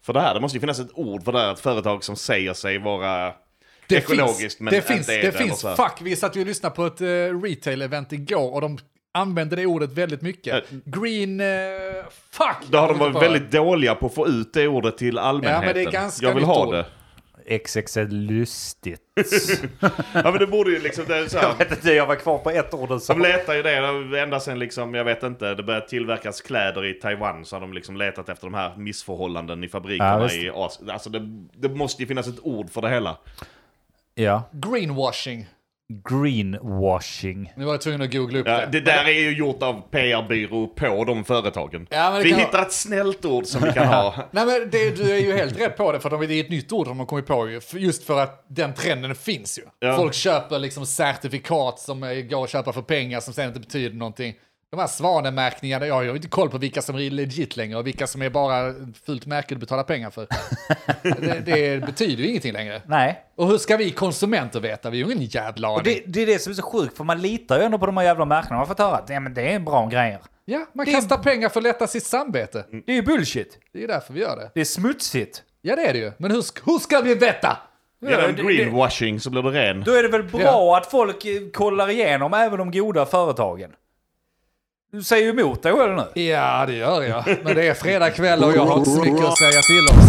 [SPEAKER 3] för det här? Det måste ju finnas ett ord för det här, ett företag som säger sig vara ekologiskt men
[SPEAKER 2] det
[SPEAKER 3] inte
[SPEAKER 2] finns,
[SPEAKER 3] är
[SPEAKER 2] det
[SPEAKER 3] eller
[SPEAKER 2] finns
[SPEAKER 3] så här.
[SPEAKER 2] fuck, vi satt ju och lyssnade på ett eh, retail-event igår och de använde det ordet väldigt mycket. Green... eh, fuck!
[SPEAKER 3] Då har
[SPEAKER 2] jag kommer
[SPEAKER 3] de
[SPEAKER 2] inte
[SPEAKER 3] varit
[SPEAKER 2] på det.
[SPEAKER 3] väldigt dåliga på att få ut det ordet till allmänheten.
[SPEAKER 2] Ja, men det är ganska
[SPEAKER 3] Jag vill
[SPEAKER 2] nytt
[SPEAKER 3] ha
[SPEAKER 2] ord.
[SPEAKER 3] det.
[SPEAKER 1] XX är lustigt.
[SPEAKER 3] Ja, men det borde ju liksom... Det är så
[SPEAKER 1] Jag
[SPEAKER 2] [laughs]
[SPEAKER 3] här,
[SPEAKER 1] vet inte, jag var kvar på ett ord och så.
[SPEAKER 3] de letar ju det ända sen liksom, jag vet inte, det började tillverkas kläder i Taiwan så har de liksom letat efter de här missförhållanden i
[SPEAKER 1] Ja,
[SPEAKER 3] fabrikerna
[SPEAKER 1] visst.
[SPEAKER 3] i Asien. Alltså det, det måste ju finnas ett ord för det hela.
[SPEAKER 1] Ja.
[SPEAKER 2] Greenwashing.
[SPEAKER 1] Greenwashing.
[SPEAKER 2] Nu var jag tvungen att googla upp
[SPEAKER 3] Ja,
[SPEAKER 2] det.
[SPEAKER 3] det där är ju gjort av PR-byrå på de företagen.
[SPEAKER 2] Ja, men det
[SPEAKER 3] vi
[SPEAKER 2] kan-
[SPEAKER 3] hittar ett snällt ord som vi kan ha.
[SPEAKER 2] Nej men det, du är ju helt rätt på det, för de- det är ett nytt ord de har kommit på ju, för- just för att den trenden finns ju.
[SPEAKER 3] Ja.
[SPEAKER 2] Folk köper liksom certifikat som eh, går att köpa för pengar som sen inte betyder någonting. De här svanemärkningarna, jag har ju inte koll på vilka som är legit längre och vilka som är bara fult märke du betalar pengar för. det, det betyder ju ingenting längre.
[SPEAKER 1] Nej.
[SPEAKER 2] Och hur ska vi konsumenter veta? Vi har ju ingen jävla aning.
[SPEAKER 1] Det, det är det som är så sjukt, för man litar ju ändå på de här jävla märkena. Man har fått höra att ja, men det är bra grejer.
[SPEAKER 2] Ja, man
[SPEAKER 1] Det Mm. är-
[SPEAKER 2] kastar pengar för att lätta sitt samvete.
[SPEAKER 1] Det är ju bullshit.
[SPEAKER 2] Det är ju därför vi gör det.
[SPEAKER 1] Det är smutsigt.
[SPEAKER 2] Ja, det är det ju. Men hur, sk- hur ska vi veta?
[SPEAKER 3] Genom
[SPEAKER 1] det-
[SPEAKER 3] greenwashing så blir du ren.
[SPEAKER 1] Då är det väl bra
[SPEAKER 2] Ja.
[SPEAKER 1] att folk eh, kollar igenom även de goda företagen. Du säger ju emot dig själv nu.
[SPEAKER 2] Ja, det gör jag. Men det är fredag kväll och jag har inte så mycket att säga till oss.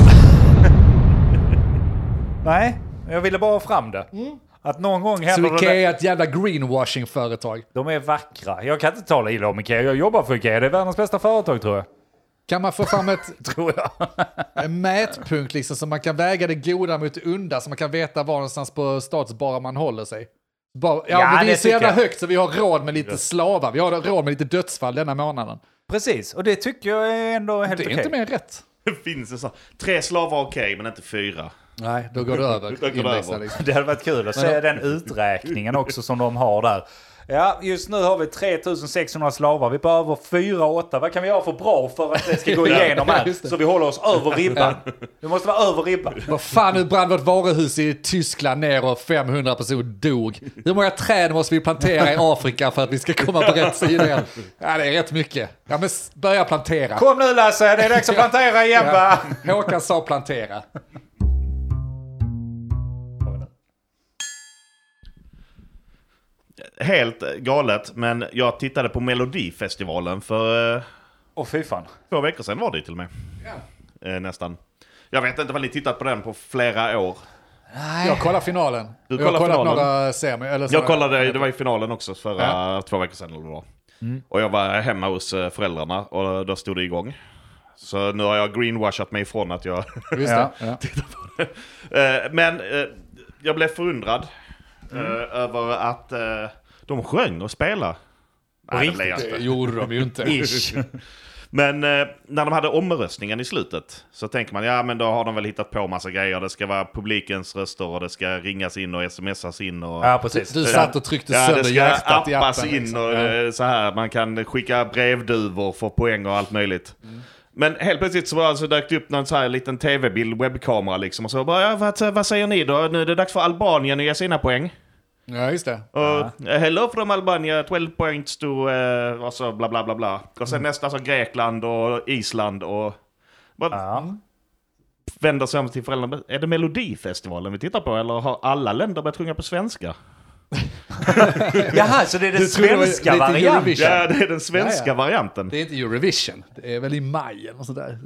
[SPEAKER 1] Nej, jag ville bara ha fram det. Att någon gång
[SPEAKER 2] Så
[SPEAKER 1] händer det.
[SPEAKER 2] Ikea är ett jävla greenwashing-företag.
[SPEAKER 1] De är vackra. Jag kan inte tala illa om Ikea. Jag jobbar för Ikea. Det är världens bästa företag tror
[SPEAKER 2] [laughs]
[SPEAKER 1] jag.
[SPEAKER 2] Kan man få fram ett,
[SPEAKER 1] Tror jag.
[SPEAKER 2] en mätpunkt liksom, så man kan väga det goda mot det onda, så man kan veta var någonstans på stadsbara man håller sig? Bara, ja,
[SPEAKER 1] Ja,
[SPEAKER 2] men vi är
[SPEAKER 1] det
[SPEAKER 2] så jävla
[SPEAKER 1] tycker jag.
[SPEAKER 2] högt så vi har råd med lite slavar. Vi har råd med lite dödsfall denna månaden.
[SPEAKER 1] Precis, och det tycker jag är ändå helt
[SPEAKER 2] Det är
[SPEAKER 1] okej.
[SPEAKER 2] inte mer än rätt.
[SPEAKER 3] Det finns en sån. Tre slavar okej, men inte fyra.
[SPEAKER 2] Nej, då går det över.
[SPEAKER 3] Då går det
[SPEAKER 2] Indexar,
[SPEAKER 3] över.
[SPEAKER 1] [laughs]
[SPEAKER 2] liksom.
[SPEAKER 1] Det hade varit kul att se den uträkningen också som de har där. Ja, just nu har vi 3600 slavar. Vi behöver 4 8. Vad kan vi göra för bra för att det ska gå igenom
[SPEAKER 2] [laughs] Ja,
[SPEAKER 1] här?
[SPEAKER 2] just det.
[SPEAKER 1] Så vi håller oss över
[SPEAKER 2] [laughs]
[SPEAKER 1] ribban. Vi måste vara över ribban.
[SPEAKER 2] Vad fan, nu brann vårt varuhus i Tyskland ner och 500 personer dog. Hur många träd måste vi plantera i Afrika för att vi ska komma på rätt sida igen? Ja, det är rätt mycket. Ja, men s- börja plantera.
[SPEAKER 1] Kom nu Lasse, det är dags att plantera igen va?
[SPEAKER 2] Ja. Håkan sa plantera.
[SPEAKER 3] Helt galet, men jag tittade på Melodifestivalen för eh,
[SPEAKER 1] Åh fy fan.
[SPEAKER 3] två veckor sedan var det ju till och med. Eh, nästan. Jag vet inte om ni tittat på den på flera år.
[SPEAKER 2] Jag kollar finalen.
[SPEAKER 3] Du
[SPEAKER 2] Och jag har
[SPEAKER 3] kollar
[SPEAKER 2] kollat
[SPEAKER 3] finalen.
[SPEAKER 2] några semi. Eller
[SPEAKER 3] Jag
[SPEAKER 2] sådana-
[SPEAKER 3] kollade, det var i finalen också förra två veckor sedan eller vad det var. Och jag var hemma hos eh, föräldrarna och då stod det igång. Så nu har jag greenwashat mig ifrån att jag... [laughs]
[SPEAKER 2] Just det.
[SPEAKER 1] Ja,
[SPEAKER 2] Ja.
[SPEAKER 3] Eh, men eh, jag blev förundrad eh, över att eh, de sjöng och spelade. Nej, det blev jag
[SPEAKER 2] Det
[SPEAKER 3] inte.
[SPEAKER 2] gjorde de ju inte.
[SPEAKER 1] Ish.
[SPEAKER 3] Men eh, när de hade omröstningen i slutet så tänker man ja men då har de väl hittat på massa grejer. Det ska vara publikens röster och det ska ringas in och smsas in och...
[SPEAKER 1] Ja precis.
[SPEAKER 2] Du satt och tryckte
[SPEAKER 3] Ja, det
[SPEAKER 2] sönder
[SPEAKER 3] ska
[SPEAKER 2] hjärtat i
[SPEAKER 3] appas
[SPEAKER 2] appen.
[SPEAKER 3] in
[SPEAKER 2] liksom.
[SPEAKER 3] och eh, så här. Man kan skicka brevduvor, få poäng och allt möjligt.
[SPEAKER 2] Mm.
[SPEAKER 3] Men helt plötsligt så, bara, så dök det upp någon så här liten tv-bild, webbkamera liksom. Och så bara, ja, vad, vad säger ni då? Nu är det dags för Albanien att ge sina poäng.
[SPEAKER 2] Ja, just det.
[SPEAKER 3] Och, eh, Hello from Albania, 12 points to... eh, och så bla bla bla bla. Och
[SPEAKER 2] Mm.
[SPEAKER 3] sen nästa så Grekland och Island och... Bara
[SPEAKER 1] Ja.
[SPEAKER 3] vänder sig om till föräldrarna. Är det Melodifestivalen vi tittar på eller har alla länder börjat sjunga på svenska?
[SPEAKER 1] Jaha, så det är den
[SPEAKER 2] Du tror det var
[SPEAKER 1] svenska
[SPEAKER 2] lite
[SPEAKER 1] varianten?
[SPEAKER 2] Eurovision.
[SPEAKER 3] Ja, det är den svenska
[SPEAKER 2] Ja, ja.
[SPEAKER 3] varianten.
[SPEAKER 2] Det är inte Eurovision. Det är väl i maj eller något sånt där.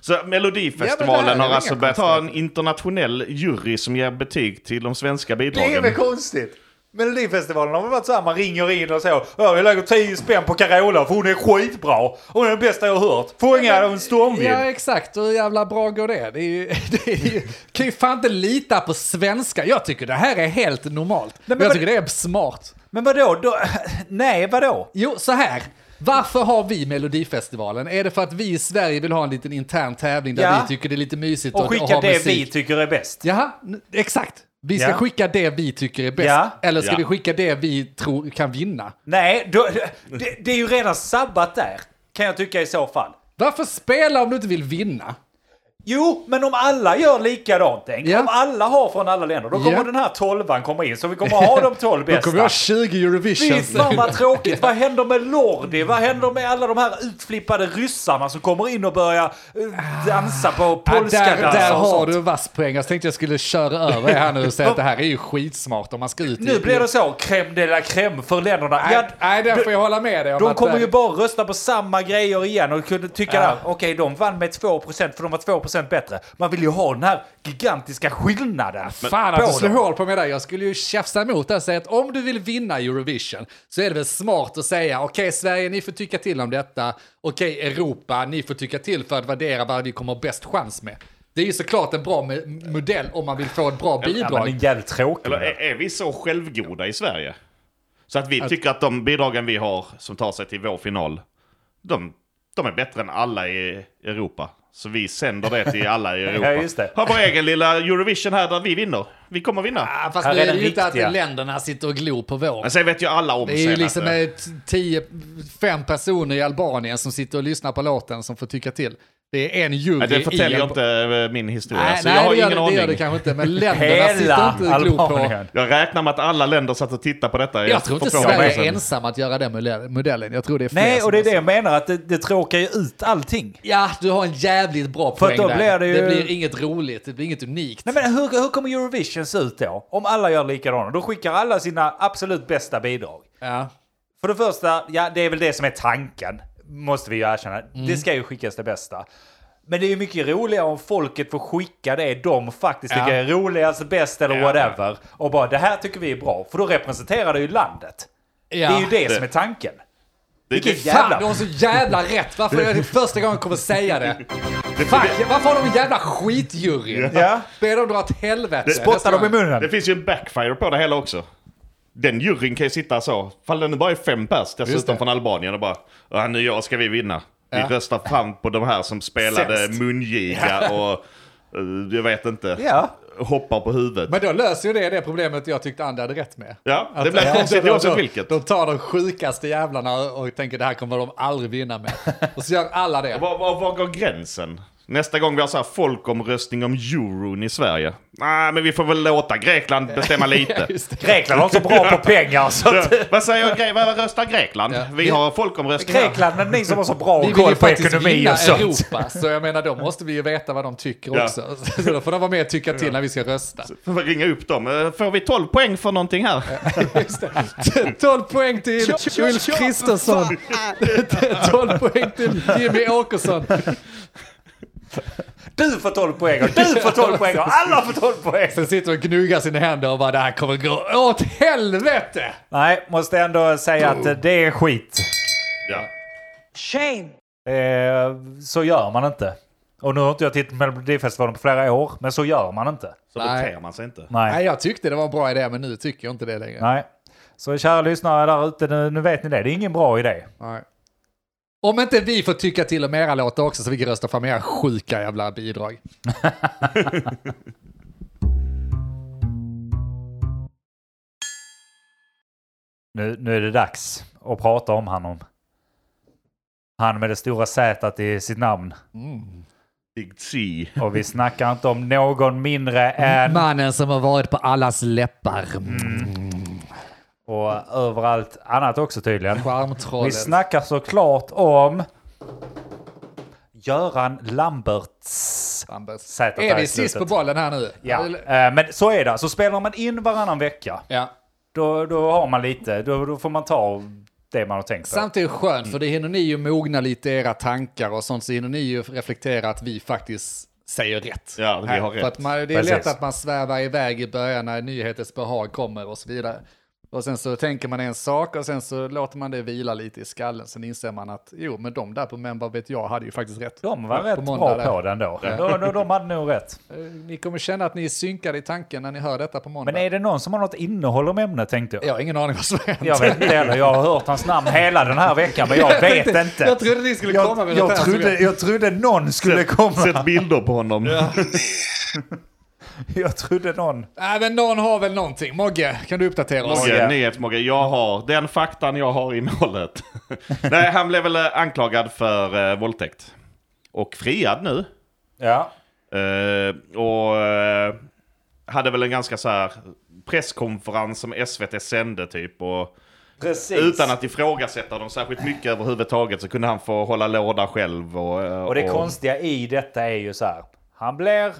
[SPEAKER 3] Så Melodifestivalen
[SPEAKER 2] Ja, men det här är
[SPEAKER 3] har
[SPEAKER 2] inga
[SPEAKER 3] alltså börjat ha en
[SPEAKER 2] konstigheter.
[SPEAKER 3] internationell jury som ger betyg till de svenska bidragen.
[SPEAKER 1] Det är väl konstigt? Melodifestivalen har väl varit så här, man ringer in och så. Ja, jag lägger 10 spänn på Carola för hon är skitbra. Hon är den bästa jag har hört. Fångad av en stormvind.
[SPEAKER 2] Ja, exakt. Hur jävla bra går det? Det, är ju, [laughs] det är ju, kan ju fan inte lita på svenska. Jag tycker det här är helt normalt.
[SPEAKER 1] men
[SPEAKER 2] jag
[SPEAKER 1] vad-
[SPEAKER 2] tycker det är smart.
[SPEAKER 1] Men vadå? Då, [laughs] nej, vadå?
[SPEAKER 2] Jo, så här. Varför har vi Melodifestivalen? Är det för att vi i Sverige vill ha en liten intern tävling där
[SPEAKER 1] Ja.
[SPEAKER 2] vi tycker det är lite mysigt
[SPEAKER 1] Och
[SPEAKER 2] ha
[SPEAKER 1] skicka det
[SPEAKER 2] musik?
[SPEAKER 1] vi tycker är bäst.
[SPEAKER 2] Jaha, n- exakt. Vi ska
[SPEAKER 1] Ja.
[SPEAKER 2] skicka det vi tycker är bäst.
[SPEAKER 1] Ja.
[SPEAKER 2] Eller ska
[SPEAKER 3] Ja.
[SPEAKER 2] vi skicka det vi tror kan vinna?
[SPEAKER 1] Nej, då, det, det är ju redan sabbat där. Kan jag tycka i så fall.
[SPEAKER 2] Varför spela om du inte vill vinna?
[SPEAKER 1] Jo, men om alla gör likadant, tänk.
[SPEAKER 2] Ja.
[SPEAKER 1] Om alla har från alla länder, då kommer
[SPEAKER 2] Ja.
[SPEAKER 1] den här tolvan komma in. Så vi kommer ha de tolv
[SPEAKER 2] [laughs] Då
[SPEAKER 1] bästa.
[SPEAKER 2] kommer jag ha 20 Eurovision.
[SPEAKER 1] Fy
[SPEAKER 2] [laughs]
[SPEAKER 1] fan vad tråkigt. Vad händer med Lordi? Vad händer med alla de här utflippade ryssarna som kommer in och börjar eh, dansa på
[SPEAKER 2] Ja,
[SPEAKER 1] polska
[SPEAKER 2] Ah, där, där
[SPEAKER 1] danser och
[SPEAKER 2] har
[SPEAKER 1] sånt?
[SPEAKER 2] du en vass poäng. Jag tänkte jag skulle köra över er här nu och säga att det här är ju skitsmart om man ska ut i-
[SPEAKER 1] Nu blir det så, crème de la crème för länderna.
[SPEAKER 2] Nej,
[SPEAKER 1] Ja,
[SPEAKER 2] nej där får jag hålla med dig om
[SPEAKER 1] de
[SPEAKER 2] att eh,
[SPEAKER 1] kommer
[SPEAKER 2] det-
[SPEAKER 1] ju bara rösta på samma grejer igen och kunde tycka
[SPEAKER 2] Ja.
[SPEAKER 1] där, okej de vann med 2% för de var 2% bättre. Man vill ju ha den här gigantiska skillnaden.
[SPEAKER 2] Fan att
[SPEAKER 1] på
[SPEAKER 2] du slår
[SPEAKER 1] dem.
[SPEAKER 2] hål på mig där. Jag skulle ju tjafsa emot det och säga att om du vill vinna Eurovision så är det väl smart att säga okej Sverige, ni får tycka till om detta. Okej Europa, ni får tycka till för att värdera vad vi kommer ha bäst chans med. Det är ju såklart en bra me- modell om man vill få ett bra eh,
[SPEAKER 1] Ja, men det är
[SPEAKER 2] bidrag.
[SPEAKER 1] jävligt tråkigt.
[SPEAKER 3] Eller är, är vi så självgoda i Sverige? Så att vi tycker att de bidragen vi har som tar sig till vår final, de, de är bättre än alla i Europa. Så vi sänder det till
[SPEAKER 2] [laughs]
[SPEAKER 3] alla i Europa.
[SPEAKER 1] Ja, just det.
[SPEAKER 3] Har vår egen lilla Eurovision här där vi vinner. Vi kommer vinna.
[SPEAKER 2] Ah, fast
[SPEAKER 1] Här
[SPEAKER 2] nu
[SPEAKER 1] är
[SPEAKER 2] är det
[SPEAKER 1] den
[SPEAKER 2] ju inte
[SPEAKER 1] riktiga.
[SPEAKER 2] att länderna sitter och glor på vår.
[SPEAKER 3] Men sen vet ju alla om
[SPEAKER 2] Det är ju
[SPEAKER 3] sen
[SPEAKER 2] liksom
[SPEAKER 3] att, eh,
[SPEAKER 2] eh, t- tio, fem personer i Albanien som sitter och lyssnar på låten som får tycka till. Det är en jury
[SPEAKER 3] Nej, det
[SPEAKER 2] i
[SPEAKER 3] förtäljer
[SPEAKER 2] Alba-
[SPEAKER 3] inte eh, min historia,
[SPEAKER 2] Nej,
[SPEAKER 1] Alltså,
[SPEAKER 3] så
[SPEAKER 2] nej
[SPEAKER 3] jag har
[SPEAKER 2] det, gör,
[SPEAKER 3] ingen
[SPEAKER 2] det, det
[SPEAKER 3] aning.
[SPEAKER 2] gör det kanske inte. Men länderna sitter
[SPEAKER 1] Hela
[SPEAKER 2] inte i glo på...
[SPEAKER 1] Albanien.
[SPEAKER 3] Jag räknar med att alla länder satt och tittade på detta.
[SPEAKER 2] Jag tror
[SPEAKER 3] för
[SPEAKER 2] inte
[SPEAKER 3] två
[SPEAKER 2] Sverige
[SPEAKER 3] veckor
[SPEAKER 2] är
[SPEAKER 3] sedan.
[SPEAKER 2] ensam att göra den modell- modellen. Jag tror det är fler
[SPEAKER 1] Nej,
[SPEAKER 2] som
[SPEAKER 1] och det är
[SPEAKER 2] så.
[SPEAKER 1] det jag menar, att det, det tråkar ju ut allting.
[SPEAKER 2] Ja, du har en jävligt bra
[SPEAKER 1] För
[SPEAKER 2] poäng
[SPEAKER 1] då
[SPEAKER 2] där.
[SPEAKER 1] blir det ju-
[SPEAKER 2] blir inget roligt, det blir inget unikt.
[SPEAKER 1] Nej, men hur, hur kommer Eurovision se ut då? Om alla gör likadana? Då skickar alla sina absolut bästa bidrag.
[SPEAKER 2] Ja.
[SPEAKER 1] För det första, ja det är väl det som är tanken, måste vi ju erkänna.
[SPEAKER 2] Mm.
[SPEAKER 1] Det ska ju skickas det bästa. Men det är ju mycket roligare om folket får skicka det de faktiskt
[SPEAKER 2] Ja.
[SPEAKER 1] tycker är roligast, bäst eller whatever. Och bara det här tycker vi är bra, för då representerar det ju landet.
[SPEAKER 2] Ja.
[SPEAKER 1] Det är ju det,
[SPEAKER 3] Det-
[SPEAKER 1] som är tanken.
[SPEAKER 3] Det, det,
[SPEAKER 1] Vilket
[SPEAKER 3] det,
[SPEAKER 2] Fan,
[SPEAKER 1] jävla...
[SPEAKER 2] du har så jävla rätt! Varför är det första gången jag kommer
[SPEAKER 1] [laughs]
[SPEAKER 2] säga det? Fuck, varför har de en jävla skitjury?
[SPEAKER 1] Ja.
[SPEAKER 2] Be dem dra åt helvete.
[SPEAKER 1] Spottar dem i
[SPEAKER 3] det
[SPEAKER 1] munnen.
[SPEAKER 3] finns ju en backfire på det hela också. Den juryn kan ju sitta så, fall det nu bara är fem pers
[SPEAKER 2] Just det.
[SPEAKER 3] dessutom från Albanien och bara "Ja, nu jag ska vi vinna. Vi
[SPEAKER 2] Ja.
[SPEAKER 3] röstar fram på de här som spelade
[SPEAKER 2] Sämst.
[SPEAKER 3] mungiga och eh, jag vet inte,
[SPEAKER 1] Ja.
[SPEAKER 3] hoppar på huvudet.
[SPEAKER 2] Men då löser ju det det problemet jag tyckte Andy hade rätt med.
[SPEAKER 3] Ja, det
[SPEAKER 2] Att-
[SPEAKER 3] blir konstigt
[SPEAKER 2] de-
[SPEAKER 3] oavsett
[SPEAKER 2] de-
[SPEAKER 3] vilket.
[SPEAKER 2] De tar de sjukaste jävlarna och tänker det här kommer de aldrig vinna med. Och så gör alla
[SPEAKER 3] [laughs]
[SPEAKER 2] det.
[SPEAKER 3] Var, var, var går gränsen? Nästa gång vi har så här folkomröstning om euron i Sverige. Nej, men vi får väl låta Grekland
[SPEAKER 2] [laughs]
[SPEAKER 3] bestämma lite.
[SPEAKER 2] Just det.
[SPEAKER 1] Grekland har så bra på pengar så att...
[SPEAKER 3] vad säger Gre vad röstar Grekland?
[SPEAKER 2] Ja.
[SPEAKER 3] Vi har folkomröstning. här.
[SPEAKER 1] Grekland, men ni som har så bra
[SPEAKER 2] Vi vill
[SPEAKER 1] koll
[SPEAKER 2] ju
[SPEAKER 1] på
[SPEAKER 2] faktiskt
[SPEAKER 1] ekonomi
[SPEAKER 2] vinna
[SPEAKER 1] och sånt.
[SPEAKER 2] Europa, så jag menar då måste vi ju veta vad de tycker
[SPEAKER 3] Ja.
[SPEAKER 2] också. Så då får de vara med och tycka till när vi ska rösta. [laughs]
[SPEAKER 3] Får vi ringa upp dem. Eh, Får vi 12 poäng för någonting här?
[SPEAKER 1] Eh.
[SPEAKER 2] 12 poäng till Ulf Kristersson. [laughs] 12 poäng till Jimmy Åkesson.
[SPEAKER 1] Du får 12 poäng och du får 12 poäng och alla får 12 poäng!
[SPEAKER 2] Sen sitter de och gnuggar sina händer och bara det här kommer gå åt helvete.
[SPEAKER 1] Nej, måste ändå säga att eh, det är skit.
[SPEAKER 3] [laughs] Ja.
[SPEAKER 5] Shame.
[SPEAKER 1] Eh, så gör man inte. Och nu har inte jag tittat på Melodifestivalen på flera år, men så gör man inte.
[SPEAKER 3] Så
[SPEAKER 2] Nej.
[SPEAKER 3] beter man sig inte.
[SPEAKER 1] Nej.
[SPEAKER 2] Nej, jag tyckte det var en bra idé, men nu tycker jag inte det längre.
[SPEAKER 1] Nej. Så kära lyssnare där ute, nu, nu vet ni det. Det är ingen bra idé.
[SPEAKER 2] Nej. Om inte vi får tycka till om era låtar också så vi kan rösta fram era sjuka jävla bidrag.
[SPEAKER 1] Mm. Nu, nu är det dags att prata om honom. Han med det stora Z i sitt namn.
[SPEAKER 3] Big C.
[SPEAKER 1] Och vi snackar inte om någon mindre än...
[SPEAKER 2] Mannen som har varit på allas läppar.
[SPEAKER 1] Mm. Och överallt annat också tydligen. Vi
[SPEAKER 2] Charmtrollet.
[SPEAKER 1] snackar såklart om... Göran Lamberts.
[SPEAKER 2] Ambers.
[SPEAKER 1] Sätet
[SPEAKER 2] Är
[SPEAKER 1] där i
[SPEAKER 2] vi sist
[SPEAKER 1] slutet.
[SPEAKER 2] på bollen här nu?
[SPEAKER 1] Ja,
[SPEAKER 2] Eller-
[SPEAKER 1] eh, men så är det. Så spelar man in varannan vecka,
[SPEAKER 2] ja.
[SPEAKER 1] då, då har man lite, då, då får man ta det man har tänkt på.
[SPEAKER 2] Samtidigt skönt, för det hinner ni ju mogna lite i era tankar och sånt, så hinner ni ju reflektera att vi faktiskt säger rätt.
[SPEAKER 3] Ja, vi har
[SPEAKER 2] För
[SPEAKER 3] rätt.
[SPEAKER 2] att man, det är
[SPEAKER 1] Precis.
[SPEAKER 2] lätt att man svävar iväg i början när nyhetens behag kommer och så vidare. Och sen så tänker man en sak och sen så låter man det vila lite i skallen. Sen inser man att jo, men de där på Men vad vet jag hade ju faktiskt rätt.
[SPEAKER 1] De var rätt
[SPEAKER 2] måndag
[SPEAKER 1] bra
[SPEAKER 2] där.
[SPEAKER 1] på den då. De, de, de hade nog rätt.
[SPEAKER 2] Eh, Ni kommer känna att ni är synkade i tanken när ni hör detta på måndag.
[SPEAKER 1] Men är det någon som har något innehåll om ämnet tänkte jag.
[SPEAKER 2] Jag har ingen aning vad som hänt.
[SPEAKER 1] Jag vet inte heller, jag har hört hans namn hela den här veckan men jag vet inte.
[SPEAKER 2] [laughs] Jag trodde ni skulle komma med något här som jag-
[SPEAKER 1] jag trodde någon skulle komma.
[SPEAKER 3] Sett bilder på honom.
[SPEAKER 1] Jag trodde någon.
[SPEAKER 2] Nej, men någon har väl någonting. Mogge, kan du uppdatera oss?
[SPEAKER 1] Mogge.
[SPEAKER 3] Mogge, nyhetsmogge. Jag har den faktan jag har i målet.
[SPEAKER 1] [laughs]
[SPEAKER 3] Nej, han blev väl eh, anklagad för eh, våldtäkt. Och friad nu.
[SPEAKER 1] Ja.
[SPEAKER 3] Eh, och eh, hade väl en ganska så här presskonferens som SVT sände typ. Och
[SPEAKER 1] Precis.
[SPEAKER 3] utan att ifrågasätta dem särskilt mycket överhuvudtaget så kunde han få hålla låda själv. Och, eh,
[SPEAKER 1] Och det konstiga i detta är ju så här. Han blir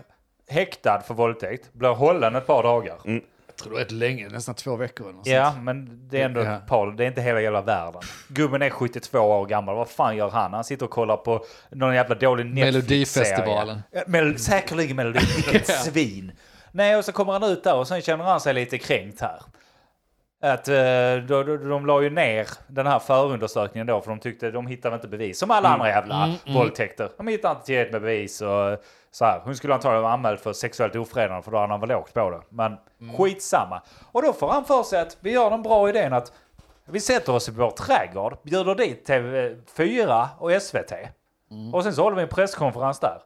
[SPEAKER 1] häktad för våldtäkt, blir hållen ett par dagar.
[SPEAKER 2] Jag tror det är ett länge, nästan två veckor eller något sånt.
[SPEAKER 1] Ja, men det är ändå
[SPEAKER 2] Ja.
[SPEAKER 1] ett par. Det är inte hela jävla världen. Gubben är 72 år gammal. Vad fan gör han? Han sitter och kollar på någon jävla dålig Netflix-serie.
[SPEAKER 2] Melodifestivalen.
[SPEAKER 1] Ja, Mel säkerligen Melodi. Vilket [laughs] svin. Nej, och så kommer han ut där och sen känner han sig lite kränkt här. Att eh, då, då, de la ju ner den här förundersökningen då för de tyckte de hittade inte bevis. Som alla andra jävla våldtäkter. De hittar inte tillräckligt med bevis och eh, så här. Hon skulle antagligen vara anmäld för sexuellt ofredande för då hade han väl åkt på det. Men skitsamma. Och då får han för sig att vi gör den bra idén att vi sätter oss i vår trädgård, bjuder dit TV4 och SVT. Och sen så håller vi en presskonferens där.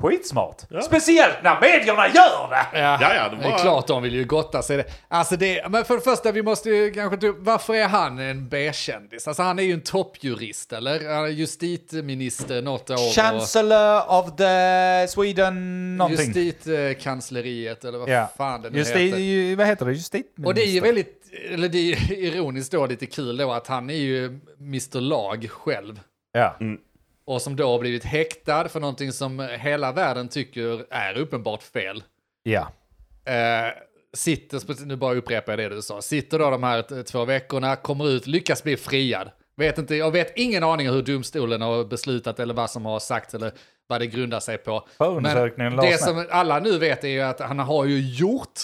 [SPEAKER 1] Skitsmart. Speciellt när medierna gör det!
[SPEAKER 2] Ja,
[SPEAKER 3] Ja, ja, det
[SPEAKER 2] det,
[SPEAKER 3] var-
[SPEAKER 2] är klart de vill ju gotta sig i det. Alltså det. Men för det första, vi måste ju kanske ta upp, varför är han en B-kändis? Alltså han är ju en toppjurist, eller? Han är justitieminister något år. och-
[SPEAKER 1] Chancellor of the Sweden någonting.
[SPEAKER 2] Justitiekansleriet, eller vad
[SPEAKER 1] Ja.
[SPEAKER 2] fan det nu
[SPEAKER 1] Justi-
[SPEAKER 2] heter.
[SPEAKER 1] ju- Vad heter det? Justitieminister?
[SPEAKER 2] Och det är ju väldigt, eller det är ju [laughs] ironiskt då lite kul då att han är ju Mr Lag själv.
[SPEAKER 1] Ja.
[SPEAKER 2] Mm. Och som då har blivit häktad för någonting som hela världen tycker är uppenbart fel.
[SPEAKER 1] ja.
[SPEAKER 2] Eh, sitter, nu bara upprepar jag det du sa, sitter då de här t- två veckorna, kommer ut, lyckas bli friad. Vet inte, jag vet ingen aning hur domstolen har beslutat eller vad som har sagts eller vad det grundar sig på.
[SPEAKER 1] Förundersökningen lades
[SPEAKER 2] det som alla nu vet är ju att han har ju gjort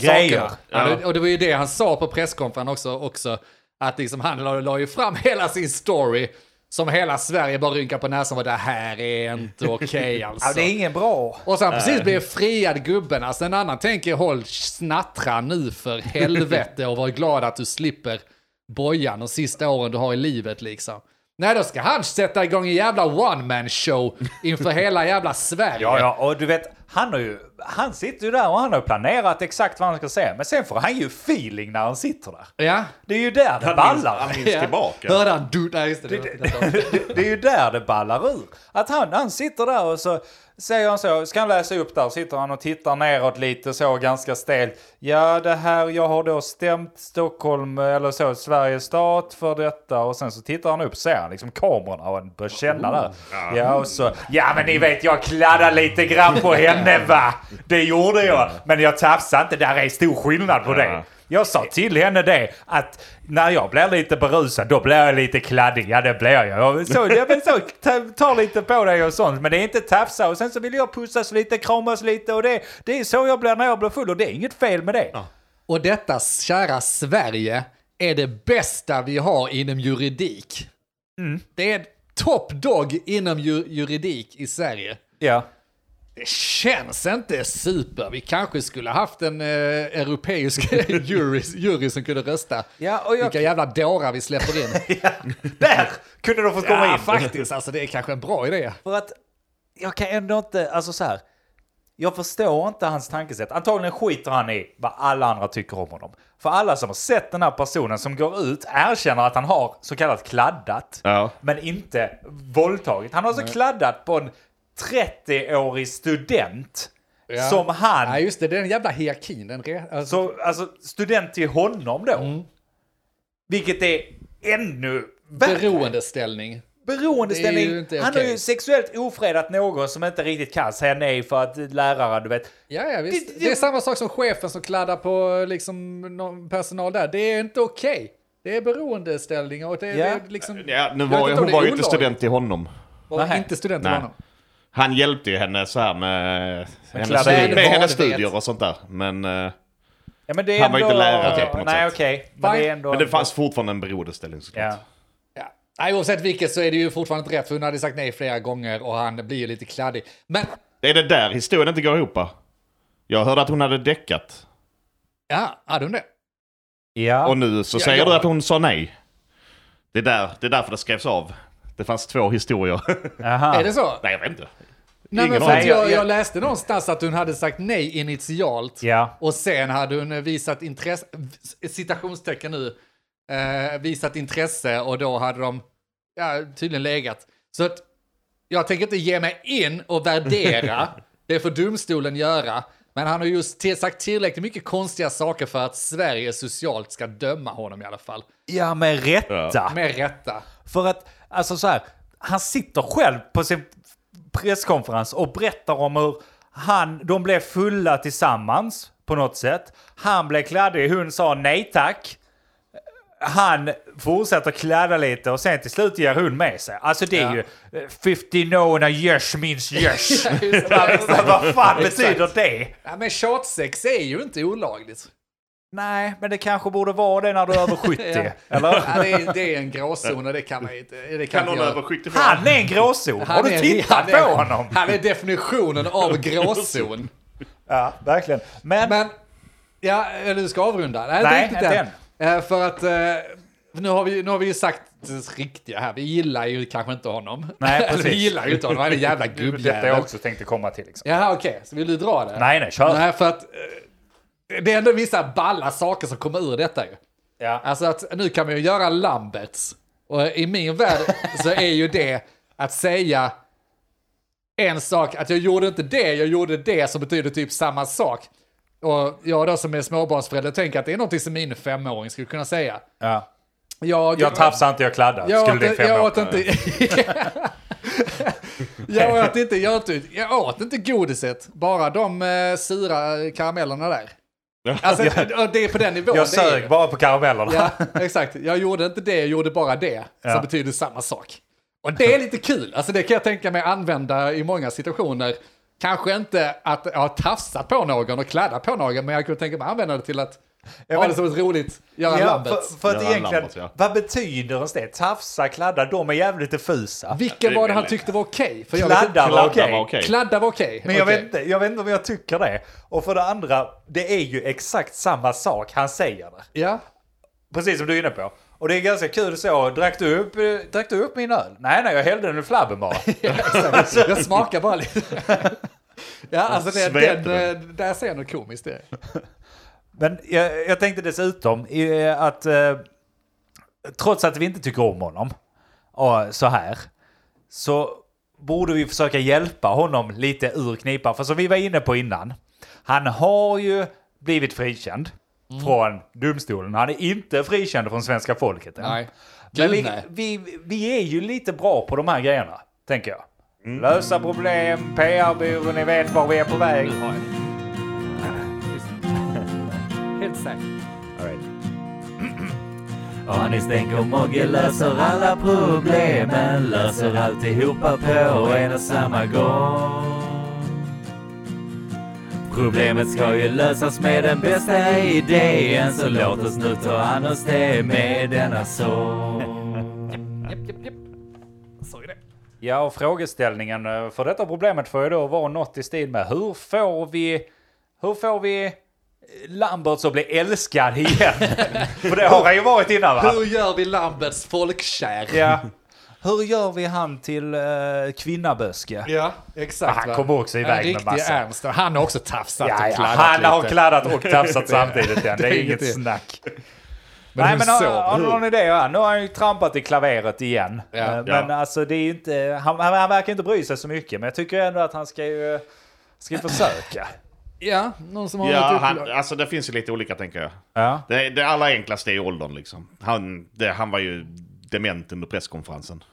[SPEAKER 1] Grejer.
[SPEAKER 2] sakerna. Ja. det- Och det var ju det han sa på presskonferensen också, också att liksom han la, la ju fram hela sin story som hela Sverige bara rynkar på näsan. Vad det här är inte okej
[SPEAKER 1] [laughs]
[SPEAKER 2] alltså.
[SPEAKER 1] Ja, det är ingen bra.
[SPEAKER 2] Och sen precis blev friad gubben. Alltså en annan tänker håll snattra nu för helvete och var glad att du slipper bojan de sista åren du har i livet liksom. Nej, då ska han sätta igång en jävla one man show inför hela jävla Sverige.
[SPEAKER 1] Ja, ja, och du vet, han, har ju, han sitter ju där och han har planerat exakt vad han ska säga. Men sen får han ju feeling när han sitter där.
[SPEAKER 2] ja.
[SPEAKER 1] Det är ju där det
[SPEAKER 3] Han minns, han
[SPEAKER 1] ballar.
[SPEAKER 3] minns
[SPEAKER 2] Ja.
[SPEAKER 3] tillbaka.
[SPEAKER 2] Hörde han? Du, nej, just det, det, var- det, var-
[SPEAKER 1] [laughs] Det, det är ju där det ballar ur. Att han, han sitter där och så säger han så, ska han läsa upp där, sitter han och tittar neråt lite så ganska stelt. Ja, det här, jag har då stämt Stockholm, eller så, Sveriges stat för detta. Och sen så tittar han upp, ser han liksom kamerorna och han börjar känna där. Ja, och så, ja men ni vet, jag kladdade lite grann på henne va? Det gjorde jag. Men jag tafsade inte, där är stor skillnad på det. Jag sa till henne det att när jag blir lite berusad då blir jag lite kladdig. Ja det blir jag. jag. Så, jag vill så, ta, ta lite på dig och sånt. Men det är inte tafsa och sen så vill jag pussas lite, kramas lite och det, det är så jag blir när jag blir full och det är inget fel med det.
[SPEAKER 2] Och detta, kära Sverige, är det bästa vi har inom juridik. Det är top dog inom ju juridik i Sverige.
[SPEAKER 1] Ja.
[SPEAKER 2] Det känns inte super. Vi kanske skulle haft en eh, europeisk [laughs] jury, jury som kunde rösta.
[SPEAKER 1] Ja, och jag-
[SPEAKER 2] Vilka jävla dårar vi släpper in.
[SPEAKER 1] [laughs] Där kunde de få komma
[SPEAKER 2] ja,
[SPEAKER 1] in.
[SPEAKER 2] faktiskt. Alltså, det är kanske en bra idé.
[SPEAKER 1] För att jag kan ändå inte, alltså så här. Jag förstår inte hans tankesätt. Antagligen skiter han i vad alla andra tycker om honom. För alla som har sett den här personen som går ut erkänner att han har så kallat kladdat.
[SPEAKER 3] Ja.
[SPEAKER 1] Men inte våldtagit. Han har alltså kladdat på en 30-årig student.
[SPEAKER 2] Ja.
[SPEAKER 1] Som han
[SPEAKER 2] Ja, just det. Det är den jävla hierarkin. Den re- alltså,
[SPEAKER 1] så alltså, student till honom då. Vilket är ännu värre.
[SPEAKER 2] beroendeställning. Det är ju
[SPEAKER 1] Beroendeställning.
[SPEAKER 2] inte
[SPEAKER 1] Han har
[SPEAKER 2] okej.
[SPEAKER 1] ju sexuellt ofredat någon som inte riktigt kan säga nej för att läraren, du vet.
[SPEAKER 2] Ja, ja, visst.
[SPEAKER 1] Det-
[SPEAKER 2] Det,
[SPEAKER 1] det-
[SPEAKER 2] är samma sak som chefen som kladdar på liksom, någon personal där. Det är inte okej. Det är beroendeställningar och det är,
[SPEAKER 1] Ja.
[SPEAKER 2] det är liksom...
[SPEAKER 3] Ja, nu
[SPEAKER 2] Jag
[SPEAKER 3] var,
[SPEAKER 2] vet
[SPEAKER 3] ju-
[SPEAKER 2] inte om
[SPEAKER 3] hon
[SPEAKER 2] det är
[SPEAKER 3] var ju inte
[SPEAKER 2] olagligt.
[SPEAKER 3] student till honom.
[SPEAKER 2] Var
[SPEAKER 1] Nej.
[SPEAKER 2] inte student till
[SPEAKER 3] Nej.
[SPEAKER 2] honom.
[SPEAKER 3] Han hjälpte ju henne så här med, hennes,
[SPEAKER 1] kladdade
[SPEAKER 3] med
[SPEAKER 2] i det.
[SPEAKER 3] hennes
[SPEAKER 2] Ja, det vet.
[SPEAKER 3] studier och sånt där. Men, eh,
[SPEAKER 1] Ja, men det är
[SPEAKER 3] Han var
[SPEAKER 1] ändå...
[SPEAKER 3] inte lärare på något
[SPEAKER 1] Nej,
[SPEAKER 3] sätt.
[SPEAKER 1] okej. Men det är ändå...
[SPEAKER 3] men det fanns fortfarande en beroendeställning såklart.
[SPEAKER 1] Ja.
[SPEAKER 2] Ja. Nej, oavsett vilket så är det ju fortfarande inte rätt för hon hade sagt nej flera gånger och han blir ju lite kladdig. Men,
[SPEAKER 3] Är det där historien inte går ihop? Jag hörde att hon hade däckat.
[SPEAKER 2] ja, hade hon det?
[SPEAKER 1] Ja.
[SPEAKER 3] Och nu så
[SPEAKER 2] Ja,
[SPEAKER 3] säger
[SPEAKER 2] ja.
[SPEAKER 3] du att hon sa nej. Det är, där, det är därför det skrevs av. Det fanns två historier. [laughs]
[SPEAKER 1] Aha.
[SPEAKER 2] Är det så?
[SPEAKER 3] nej, jag vet inte.
[SPEAKER 2] Nej, men
[SPEAKER 3] Ingen
[SPEAKER 2] för att
[SPEAKER 3] aning.
[SPEAKER 2] jag,
[SPEAKER 1] Nej, jag-
[SPEAKER 2] jag läste någonstans att hon hade sagt nej initialt.
[SPEAKER 1] Ja.
[SPEAKER 2] Och sen hade hon visat intresse, citationstecken nu, eh, visat intresse och då hade de ja, tydligen legat. Så att jag tänker inte ge mig in och värdera,
[SPEAKER 1] [laughs]
[SPEAKER 2] det får domstolen göra. Men han har just till, sagt tillräckligt mycket konstiga saker för att Sverige socialt ska döma honom i alla fall.
[SPEAKER 1] Ja, med rätta.
[SPEAKER 2] Med rätta.
[SPEAKER 1] För att, alltså så här, han sitter själv på sin presskonferens och berättar om hur han, de blev fulla tillsammans på något sätt. Han blev kladdig, hon sa nej tack. Han fortsätter kladda lite och sen till slut ger hon med sig. Alltså det är
[SPEAKER 2] Ja.
[SPEAKER 1] ju eh, 50 nona görs minst
[SPEAKER 2] [laughs]
[SPEAKER 1] görs.
[SPEAKER 2] Just det.
[SPEAKER 1] Alltså, [laughs] Vad fan betyder
[SPEAKER 2] Exakt.
[SPEAKER 1] det?
[SPEAKER 2] Ja, men tjatsex är ju inte olagligt.
[SPEAKER 1] Nej, men det kanske borde vara det när du är
[SPEAKER 2] [laughs]
[SPEAKER 1] över 70.
[SPEAKER 2] Ja.
[SPEAKER 1] Eller?
[SPEAKER 2] Ja, det, är, det är en gråzon och det kan man ju inte... Det kan
[SPEAKER 3] Kan hon
[SPEAKER 2] inte jag-
[SPEAKER 3] över 70
[SPEAKER 1] Han är en gråzon. Har du
[SPEAKER 2] är-
[SPEAKER 1] tittat
[SPEAKER 2] han är-
[SPEAKER 1] på honom?
[SPEAKER 2] Han är definitionen av gråzon.
[SPEAKER 1] Ja, verkligen. Men
[SPEAKER 2] Men, ja, eller du ska avrunda. Nej,
[SPEAKER 1] Nej,
[SPEAKER 2] inte riktigt
[SPEAKER 1] inte
[SPEAKER 2] än. Eh, För att, eh, nu har vi, nu har vi ju sagt det riktiga här. Vi gillar ju kanske inte honom.
[SPEAKER 1] Nej,
[SPEAKER 2] [laughs] Eller vi
[SPEAKER 1] precis.
[SPEAKER 2] gillar ju inte honom. Han är en jävla
[SPEAKER 1] Det är [laughs] Detta
[SPEAKER 2] gubbjävel.
[SPEAKER 1] jag också tänkte komma till. Liksom.
[SPEAKER 2] Jaha, okej. Så vill du dra det?
[SPEAKER 1] Nej, nej, kör.
[SPEAKER 2] Nej, för att eh, det är ändå vissa balla saker som kommer ur detta ju.
[SPEAKER 1] Ja.
[SPEAKER 2] Alltså att nu kan man ju göra Lamberts. Och i min värld så är ju det att säga en sak, att jag gjorde inte det, jag gjorde det som betyder typ samma sak. Och jag då som är småbarnsförälder tänker att det är någonting som min femåring skulle kunna säga.
[SPEAKER 1] Ja.
[SPEAKER 2] Jag,
[SPEAKER 1] Jag tafsar inte, jag kladdar.
[SPEAKER 2] jag
[SPEAKER 1] skulle
[SPEAKER 2] åt,
[SPEAKER 1] din
[SPEAKER 2] inte- jag
[SPEAKER 1] femåring-
[SPEAKER 2] åt inte... [laughs] jag åt inte, jag åt, inte- jag åt inte godiset, bara de eh, sura
[SPEAKER 1] [laughs]
[SPEAKER 2] karamellerna där. Alltså, och det är på den nivån.
[SPEAKER 1] Jag
[SPEAKER 2] det är ju.
[SPEAKER 1] sög bara på karamellerna.
[SPEAKER 2] Ja, exakt. Jag gjorde inte det, jag gjorde bara det. Som
[SPEAKER 1] Ja.
[SPEAKER 2] betyder samma sak. Och det är lite kul. Alltså det kan jag tänka mig använda i många situationer. Kanske inte att jag har tafsat på någon och kladdat på någon, men jag kunde tänka mig att använda det till att ha
[SPEAKER 1] men-
[SPEAKER 2] det som ett roligt Göran
[SPEAKER 1] [laughs] Ja,
[SPEAKER 2] Lambert.
[SPEAKER 1] för, för att
[SPEAKER 3] Göran
[SPEAKER 1] egentligen,
[SPEAKER 3] Lambert, ja.
[SPEAKER 1] vad betyder ens det? Tafsa, kladda, de är jävligt diffusa.
[SPEAKER 2] Vilken
[SPEAKER 3] det är
[SPEAKER 2] var det han
[SPEAKER 3] väldigt-
[SPEAKER 2] tyckte var okej? För jag vet inte-
[SPEAKER 1] Kladda var
[SPEAKER 3] Kladda
[SPEAKER 1] okej.
[SPEAKER 3] var okej.
[SPEAKER 2] Kladda var okej.
[SPEAKER 1] Men jag,
[SPEAKER 2] Okej.
[SPEAKER 1] vet inte, jag vet inte om jag tycker det. Och för det andra, det är ju exakt samma sak han säger där.
[SPEAKER 2] Ja. [laughs]
[SPEAKER 1] Precis som du är inne på. Och det är ganska kul så, drack du upp, eh, drack du upp min öl? Nej, nej, jag hällde den i flabben bara.
[SPEAKER 2] Jag smakar bara lite. [laughs] Ja, alltså det,
[SPEAKER 3] Sveper
[SPEAKER 2] den, eh, där ser jag något komiskt det.
[SPEAKER 1] Men jag, jag tänkte dessutom eh, att eh, trots att vi inte tycker om honom eh, så här så borde vi försöka hjälpa honom lite ur knipan. För som vi var inne på innan, han har ju blivit frikänd
[SPEAKER 2] Mm.
[SPEAKER 1] från domstolen. Han är inte frikänd från svenska folket. än.
[SPEAKER 2] Nej.
[SPEAKER 1] Men
[SPEAKER 2] Gud,
[SPEAKER 1] vi,
[SPEAKER 2] nej.
[SPEAKER 1] vi, vi är ju lite bra på de här grejerna, tänker jag.
[SPEAKER 2] Mm.
[SPEAKER 1] Lösa problem, PR-byrån, ni vet var vi är på väg.
[SPEAKER 2] Nu har jag det. Helt säkert.
[SPEAKER 5] Anis tänker Mogge löser alla problemen Löser alltihopa på en och samma gång Problemet ska ju lösas med den bästa idén Så låt oss nu ta an oss det med denna sång
[SPEAKER 1] Ja, och frågeställningen eh, för detta problemet får ju då vara något i stil med hur får vi, hur får vi Lamberts att bli älskad [laughs] igen? för det har han ju varit innan va?
[SPEAKER 2] Hur gör vi Lamberts folkkär?
[SPEAKER 1] ja. Hur gör vi han till uh, kvinnaböske?
[SPEAKER 2] Ja, exakt.
[SPEAKER 1] Han
[SPEAKER 2] va?
[SPEAKER 1] kommer också iväg
[SPEAKER 2] En
[SPEAKER 1] med
[SPEAKER 2] riktig
[SPEAKER 1] massa.
[SPEAKER 2] Ernst. Han har också tafsat
[SPEAKER 1] Ja,
[SPEAKER 2] och
[SPEAKER 1] ja,
[SPEAKER 2] kladdat
[SPEAKER 1] han har
[SPEAKER 2] lite.
[SPEAKER 1] kladdat och
[SPEAKER 2] [laughs]
[SPEAKER 1] tafsat samtidigt. igen. Det är
[SPEAKER 2] inget-
[SPEAKER 1] inget snack.
[SPEAKER 2] Men
[SPEAKER 1] Nej
[SPEAKER 2] hur
[SPEAKER 1] men har,
[SPEAKER 2] sov
[SPEAKER 1] har du
[SPEAKER 2] hon?
[SPEAKER 1] någon idé? va? Nu har han ju trampat i klaveret igen.
[SPEAKER 2] Ja.
[SPEAKER 1] Eh, Men alltså det är ju inte, han, han, han verkar inte bry sig så mycket. Men jag tycker ändå att han ska ju, ska ju försöka.
[SPEAKER 2] Ja, någon som har
[SPEAKER 3] Ja,
[SPEAKER 2] något
[SPEAKER 3] han,
[SPEAKER 2] han...
[SPEAKER 3] alltså det finns ju lite olika tänker jag.
[SPEAKER 1] Ja.
[SPEAKER 3] Det, det allra enklaste är åldern liksom. Han, det, han var ju dement under presskonferensen.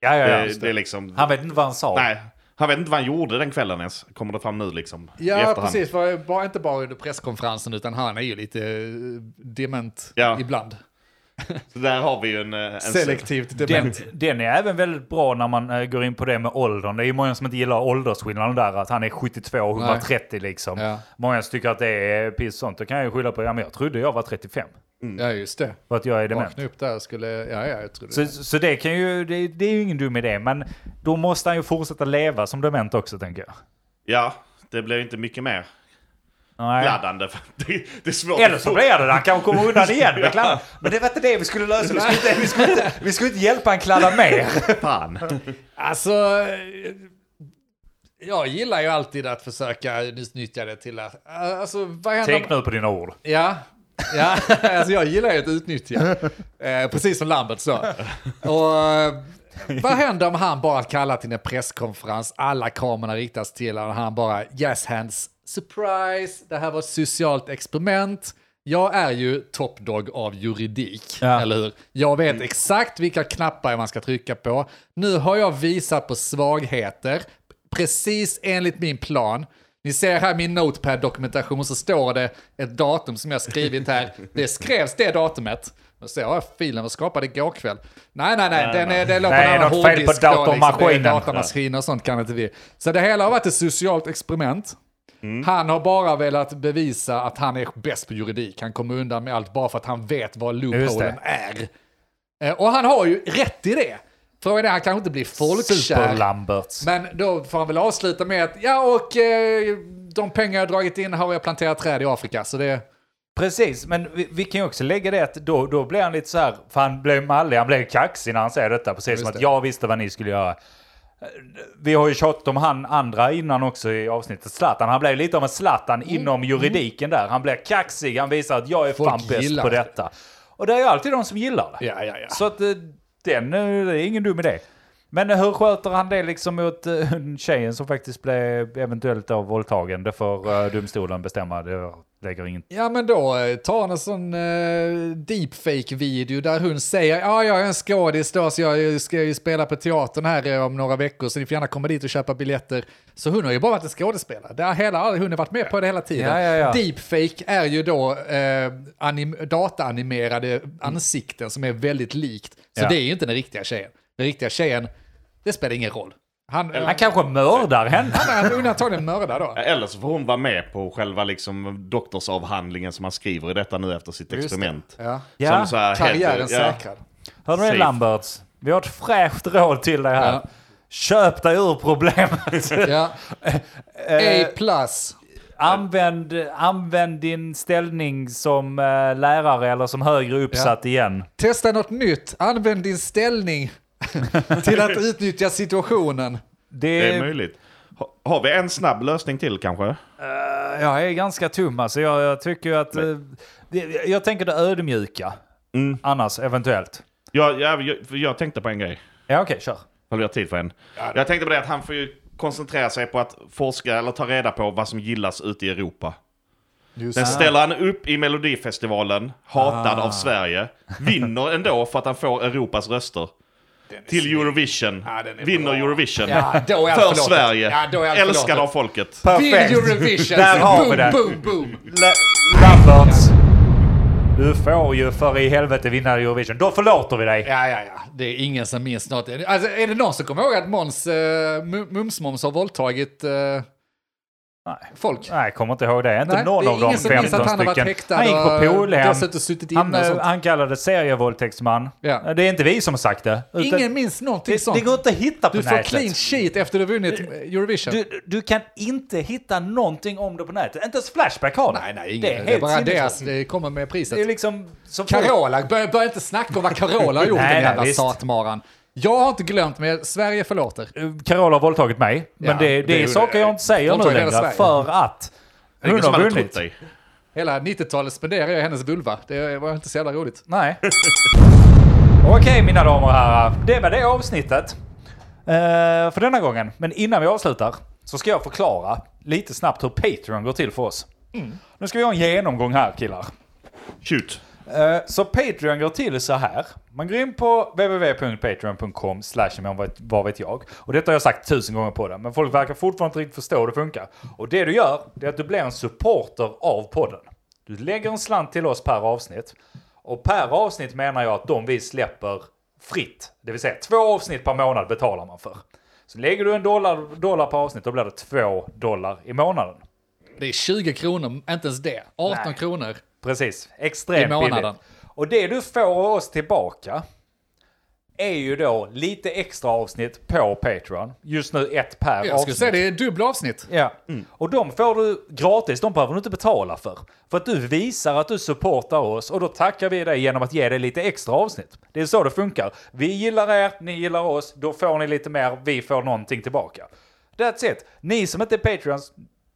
[SPEAKER 1] Ja, ja, ja.
[SPEAKER 3] Det,
[SPEAKER 1] just
[SPEAKER 3] det är liksom...
[SPEAKER 1] Han vet inte vad han sa.
[SPEAKER 3] Nej, han vet inte vad han gjorde den kvällen ens. Kommer det fram nu liksom? i
[SPEAKER 2] Ja,
[SPEAKER 3] efterhand.
[SPEAKER 2] precis. Var, var inte bara under presskonferensen, utan han är ju lite eh, dement
[SPEAKER 3] Ja.
[SPEAKER 2] ibland.
[SPEAKER 3] Så där har vi ju en... eh, en
[SPEAKER 2] Selektivt
[SPEAKER 1] Den,
[SPEAKER 2] dement.
[SPEAKER 1] den är även väldigt bra när man eh, går in på det med åldern. Det är ju många som inte gillar åldersskillnaden där, att han är 72 och 130 liksom.
[SPEAKER 2] Ja.
[SPEAKER 1] Många som tycker att det är piss och sånt. Då kan jag ju skylla på, ja men jag trodde jag var 35.
[SPEAKER 2] Ja, just det.
[SPEAKER 1] För att jag är dement.
[SPEAKER 2] Vakna upp där skulle... Ja, ja, jag trodde
[SPEAKER 1] Så,
[SPEAKER 2] det.
[SPEAKER 1] så det, kan ju, det, det är ju ingen dum idé, men då måste han ju fortsätta leva som dement också tänker jag.
[SPEAKER 3] Ja, det blev inte mycket mer
[SPEAKER 1] Nej.
[SPEAKER 3] laddande. [laughs] Det, det är svårt
[SPEAKER 1] Eller
[SPEAKER 3] att
[SPEAKER 1] så
[SPEAKER 3] få-
[SPEAKER 1] blir det det, han kanske kommer undan igen med kladdan. Men det var inte det vi skulle lösa, vi skulle inte, vi skulle inte, vi skulle inte hjälpa han kladda mer.
[SPEAKER 3] Fan.
[SPEAKER 2] Alltså, eh, jag gillar ju alltid att försöka utnyttja det till att... Alltså, vad händer om-
[SPEAKER 1] Tänk nu på dina ord.
[SPEAKER 2] Ja, ja. [laughs] alltså jag gillar ju att utnyttja. Eh, precis som Lambert sa. Och, eh, vad händer om han bara kallar till en presskonferens, alla kamerorna riktas till honom och han bara yes hands, surprise, det här var ett socialt experiment. Jag är ju topdog av juridik,
[SPEAKER 1] Ja.
[SPEAKER 2] eller hur? Jag vet exakt vilka knappar man ska trycka på. Nu har jag visat på svagheter, precis enligt min plan. Ni ser här min Notepad-dokumentation så står det ett datum som jag skrivit [laughs] här. Det skrevs det datumet. Men så har jag filen var skapad igår kväll. Nej, nej, nej, den är, det låg på
[SPEAKER 1] Nej,
[SPEAKER 2] en
[SPEAKER 1] något
[SPEAKER 2] annan
[SPEAKER 1] fel på
[SPEAKER 2] hårddisk då, liksom. Det är
[SPEAKER 1] datormaskinen.
[SPEAKER 2] Datamaskiner och sånt kan inte vi. Så det hela har varit ett socialt experiment.
[SPEAKER 1] Mm.
[SPEAKER 2] Han har bara velat bevisa att han är bäst på juridik. Han kommer undan med allt bara för att han vet vad
[SPEAKER 1] Just det.
[SPEAKER 2] loopholen är. Eh, Och han har ju rätt i det. Frågan är, han kanske inte blir folkkär.
[SPEAKER 1] Super-Lamberts.
[SPEAKER 2] Men då får han väl avsluta med att, ja och eh, de pengar jag dragit in har jag planterat träd i Afrika, så det,
[SPEAKER 1] Precis, men vi, vi kan ju också lägga det att då, då blir han lite så här, för han blev mallig, han blev kaxig när han säger detta, precis som
[SPEAKER 2] det.
[SPEAKER 1] att jag visste vad ni skulle göra. Vi har ju tjatat om han andra innan också i avsnittet, Zlatan. Han blev lite av en Zlatan inom juridiken där. Han blir kaxig, han visar att jag är
[SPEAKER 2] Mm, Folk
[SPEAKER 1] fan bäst
[SPEAKER 2] gillar
[SPEAKER 1] på
[SPEAKER 2] det.
[SPEAKER 1] detta. Och det är ju alltid de som gillar det.
[SPEAKER 2] Ja, ja, ja.
[SPEAKER 1] Så att eh, den, eh, det är ingen dum idé. Men eh, hur sköter han det liksom mot eh, [laughs] tjejen som faktiskt blev eventuellt av våldtagen? Det får eh, domstolen bestämma. Det lägger ingen
[SPEAKER 2] Ja men då eh, tar han en sån eh, deepfake-video där hon säger ja jag är en skådis då så jag eh, ska ju spela på teatern här eh, om några veckor så ni får gärna komma dit och köpa biljetter. Så hon har ju bara varit en skådespelare. Det har hela, hon har varit med på det hela tiden.
[SPEAKER 1] Ja, ja, ja.
[SPEAKER 2] Deepfake är ju då eh, anim- dataanimerade ansikten som är väldigt likt. Så
[SPEAKER 1] Ja.
[SPEAKER 2] det är ju inte den riktiga tjejen. Den riktiga tjejen, det spelar ingen roll. Han,
[SPEAKER 1] Han kanske mördar henne.
[SPEAKER 2] han är undantagligen mördare då.
[SPEAKER 3] [laughs] Eller så får hon vara med på själva liksom doktorsavhandlingen som han skriver i detta nu efter sitt
[SPEAKER 2] Just det.
[SPEAKER 3] experiment.
[SPEAKER 2] Ja.
[SPEAKER 1] Ja,
[SPEAKER 3] så här
[SPEAKER 2] Karriären
[SPEAKER 3] heter- ja.
[SPEAKER 2] säkrad.
[SPEAKER 1] Hör du det
[SPEAKER 3] Safe.
[SPEAKER 1] Lamberts? Vi har ett fräscht råd till dig här.
[SPEAKER 2] Ja.
[SPEAKER 1] Köp dig ur problemet. [laughs]
[SPEAKER 2] Ja. A
[SPEAKER 1] Eh.
[SPEAKER 2] plus.
[SPEAKER 1] använd, använd din ställning som eh, lärare eller som högre uppsatt igen.
[SPEAKER 2] Testa något nytt. Använd din ställning till att utnyttja situationen.
[SPEAKER 1] Det,
[SPEAKER 3] Det är möjligt. Ha- Har vi en snabb lösning till kanske?
[SPEAKER 1] Eh, jag är ganska tom alltså. Jag, jag tycker ju att... eh, det, jag tänker det ödmjuka. Annars eventuellt.
[SPEAKER 3] Jag, jag, jag, för jag tänkte på en grej.
[SPEAKER 1] Ja okej, kör.
[SPEAKER 3] Har vi tid för en? Jag tänkte på det att han får ju koncentrera sig på att forska eller ta reda på vad som gillas ute i Europa.
[SPEAKER 2] Just Ah.
[SPEAKER 3] Sen ställer han upp i Melodifestivalen, hatad av Sverige. Vinner ändå för att han får Europas röster. Till Eurovision.
[SPEAKER 2] den är
[SPEAKER 3] Vinner
[SPEAKER 2] bra.
[SPEAKER 3] Eurovision.
[SPEAKER 2] Ja, då är allt
[SPEAKER 3] för
[SPEAKER 2] förlåtet.
[SPEAKER 3] Sverige.
[SPEAKER 2] Ja, då är allt
[SPEAKER 3] Älskad
[SPEAKER 2] förlåtet.
[SPEAKER 3] av folket.
[SPEAKER 2] Vill Eurovision!
[SPEAKER 1] Där har vi
[SPEAKER 2] boom,
[SPEAKER 1] det.
[SPEAKER 2] boom, boom!
[SPEAKER 1] La- Lamberts. Du får ju för i helvete vinna Eurovision. Då förlåter vi dig.
[SPEAKER 2] Ja, ja, ja. Det är ingen som minns något. Alltså, är det någon som kommer ihåg att Måns, äh, Mums-Moms har våldtagit eh, folk?
[SPEAKER 1] Nej, jag kommer inte ihåg det. Inte
[SPEAKER 2] Nej,
[SPEAKER 1] någon
[SPEAKER 2] det är
[SPEAKER 1] av de
[SPEAKER 2] ingen som minns
[SPEAKER 1] 15
[SPEAKER 2] att han har varit
[SPEAKER 1] stycken.
[SPEAKER 2] häktad
[SPEAKER 1] han gick
[SPEAKER 2] och
[SPEAKER 1] på Polhem.
[SPEAKER 2] dessutom suttit
[SPEAKER 1] Han,
[SPEAKER 2] inne och
[SPEAKER 1] eh,
[SPEAKER 2] sånt.
[SPEAKER 1] han kallades serievåldtäktsman.
[SPEAKER 2] Ja.
[SPEAKER 1] Det är inte vi som har sagt det. utan-
[SPEAKER 2] Ingen minns någonting
[SPEAKER 1] det,
[SPEAKER 2] sånt.
[SPEAKER 1] det går inte att hitta på
[SPEAKER 2] du får
[SPEAKER 1] nätet.
[SPEAKER 2] clean sheet efter du vunnit Eurovision.
[SPEAKER 1] Du, du kan inte hitta någonting om det på nätet. Inte ens Flashback har det.
[SPEAKER 2] nej, nej, ingen.
[SPEAKER 1] det
[SPEAKER 2] Det
[SPEAKER 1] är
[SPEAKER 2] är,
[SPEAKER 1] helt
[SPEAKER 2] bara
[SPEAKER 1] sinnessjukt.
[SPEAKER 2] deras, det kommer med priset.
[SPEAKER 1] Det är liksom... Som
[SPEAKER 2] Carola, börja börja inte snacka om vad Carola har gjort
[SPEAKER 1] Nej, nej,
[SPEAKER 2] den jävla
[SPEAKER 1] visst.
[SPEAKER 2] satmaran. Jag har inte glömt, men Sverige förlåter.
[SPEAKER 1] Carola har våldtagit mig. Men
[SPEAKER 2] Ja,
[SPEAKER 1] det, det,
[SPEAKER 2] det
[SPEAKER 1] är
[SPEAKER 2] gjorde-
[SPEAKER 1] saker jag inte säger nu
[SPEAKER 2] våldtagit hela
[SPEAKER 1] längre.
[SPEAKER 2] Sverige.
[SPEAKER 1] För att hon
[SPEAKER 3] Ingen som
[SPEAKER 1] har
[SPEAKER 3] hade trott
[SPEAKER 1] vunnit.
[SPEAKER 3] dig.
[SPEAKER 2] Hela 90-talet spenderade jag i hennes vulva. Det var inte så jävla roligt.
[SPEAKER 1] Nej. Okej mina damer och herrar, det var det avsnittet. eh, för denna gången. Men innan vi avslutar så ska jag förklara lite snabbt hur Patreon går till för oss. Nu ska vi ha en genomgång här killar.
[SPEAKER 3] Shoot.
[SPEAKER 1] Eh, Så Patreon går till så här. Man går in på www.patreon.com slash men vad- vad vet jag. Och detta har jag sagt tusen gånger på det, men folk verkar fortfarande inte riktigt förstå hur det funkar. Och det du gör, det är att du blir en supporter av podden. Du lägger en slant till oss per avsnitt. Och per avsnitt menar jag att de vi släpper fritt, det vill säga två avsnitt per månad betalar man för. Så lägger du en dollar, dollar per avsnitt, då blir det två dollar i månaden.
[SPEAKER 2] Det är 20 kronor, inte ens det. 18
[SPEAKER 1] Nej.
[SPEAKER 2] kronor.
[SPEAKER 1] Precis, extremt
[SPEAKER 2] I månaden.
[SPEAKER 1] billigt. Och det du får av oss tillbaka är ju då lite extra avsnitt på Patreon. Just nu ett per
[SPEAKER 2] Jag skulle
[SPEAKER 1] avsnitt.
[SPEAKER 2] säga det är dubbla avsnitt.
[SPEAKER 1] Ja. Mm. Och de får du gratis, de behöver du inte betala för. För att du visar att du supportar oss och då tackar vi dig genom att ge dig lite extra avsnitt. Det är så det funkar. Vi gillar er, ni gillar oss, då får ni lite mer, vi får någonting tillbaka. That's it. Ni som inte är Patreons,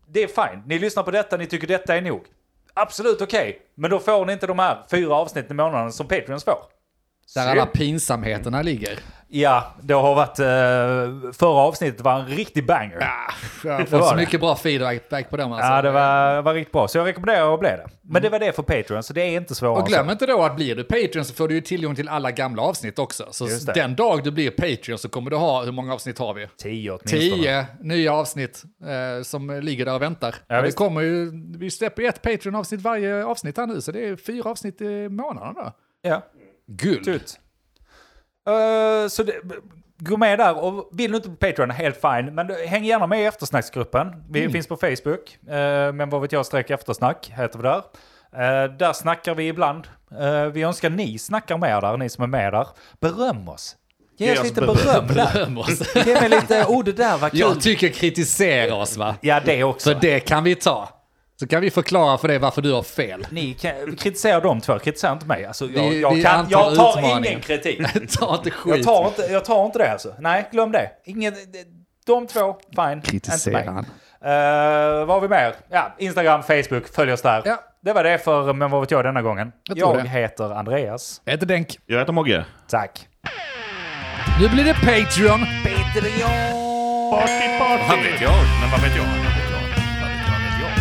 [SPEAKER 1] det är fine. Ni lyssnar på detta, ni tycker detta är nog. Absolut okej, men då får ni inte de här fyra avsnitten i månaden som Patreons får.
[SPEAKER 2] Där alla pinsamheterna ligger.
[SPEAKER 1] Ja, det har varit... Eh, förra avsnittet var en riktig banger.
[SPEAKER 2] Jag
[SPEAKER 1] var
[SPEAKER 2] har fått så
[SPEAKER 1] Ah, det.
[SPEAKER 2] mycket bra feedback på dem alltså.
[SPEAKER 1] Ja, det var, var riktigt bra. Så jag rekommenderar att bli det. Men det var det för Patreon, så det är inte svårare
[SPEAKER 2] Mm. Och glöm
[SPEAKER 1] än så.
[SPEAKER 2] inte då att blir du Patreon så får du ju tillgång till alla gamla avsnitt också. Så
[SPEAKER 1] Just det.
[SPEAKER 2] den dag du blir Patreon så kommer du ha, hur många avsnitt har vi?
[SPEAKER 1] Tio åtminstone.
[SPEAKER 2] Tio nya avsnitt eh, som ligger där och väntar.
[SPEAKER 1] Ja,
[SPEAKER 2] Och det
[SPEAKER 1] visst.
[SPEAKER 2] kommer ju, vi släpper ju ett Patreon-avsnitt varje avsnitt här nu, så det är fyra avsnitt i månaden då.
[SPEAKER 1] Ja,
[SPEAKER 2] Guld. [laughs]
[SPEAKER 1] tut. Eh, så det, gå med där. Och vill du inte på Patreon, helt fine. Men du- häng gärna med i eftersnacksgruppen.
[SPEAKER 2] Mm.
[SPEAKER 1] Vi finns på Facebook. eh, men vad vet jag, streck eftersnack heter vi där. Eh, där snackar vi ibland. Eh, vi önskar ni snackar med där, ni som är med där. Beröm oss. Ge, oss lite beröm, där.
[SPEAKER 2] Beröm oss.
[SPEAKER 1] Ge mig lite, oh det där var kul.
[SPEAKER 2] Jag tycker kritisera oss va?
[SPEAKER 1] Ja, det också.
[SPEAKER 2] För det kan vi ta. Så kan vi förklara för dig varför du har fel.
[SPEAKER 1] Ni kan, kritisera de två, kritisera inte mig. Alltså, jag,
[SPEAKER 2] Vi-
[SPEAKER 1] jag,
[SPEAKER 2] vi
[SPEAKER 1] kan,
[SPEAKER 2] antar
[SPEAKER 1] jag tar
[SPEAKER 2] utmaningen.
[SPEAKER 1] ingen
[SPEAKER 2] [laughs]
[SPEAKER 1] kritik.
[SPEAKER 2] [laughs] Ta inte skit.
[SPEAKER 1] Jag tar inte, jag tar inte det alltså. Nej, glöm det. Ingen, de två, fine.
[SPEAKER 2] Kritisera
[SPEAKER 1] Inte mig.
[SPEAKER 2] han.
[SPEAKER 1] Eh, vad har vi mer? Ja, Instagram, Facebook, följ oss där.
[SPEAKER 2] Ja.
[SPEAKER 1] Det var det för Men vad vet jag denna gången. Jag,
[SPEAKER 2] Jag tror det.
[SPEAKER 1] heter Andreas.
[SPEAKER 2] Jag heter Denk.
[SPEAKER 6] Jag heter Mogge.
[SPEAKER 1] Tack.
[SPEAKER 2] Nu blir det Patreon.
[SPEAKER 6] Party,
[SPEAKER 3] Vad
[SPEAKER 6] party!
[SPEAKER 3] vet jag? Men vad vet jag? Vad vet jag?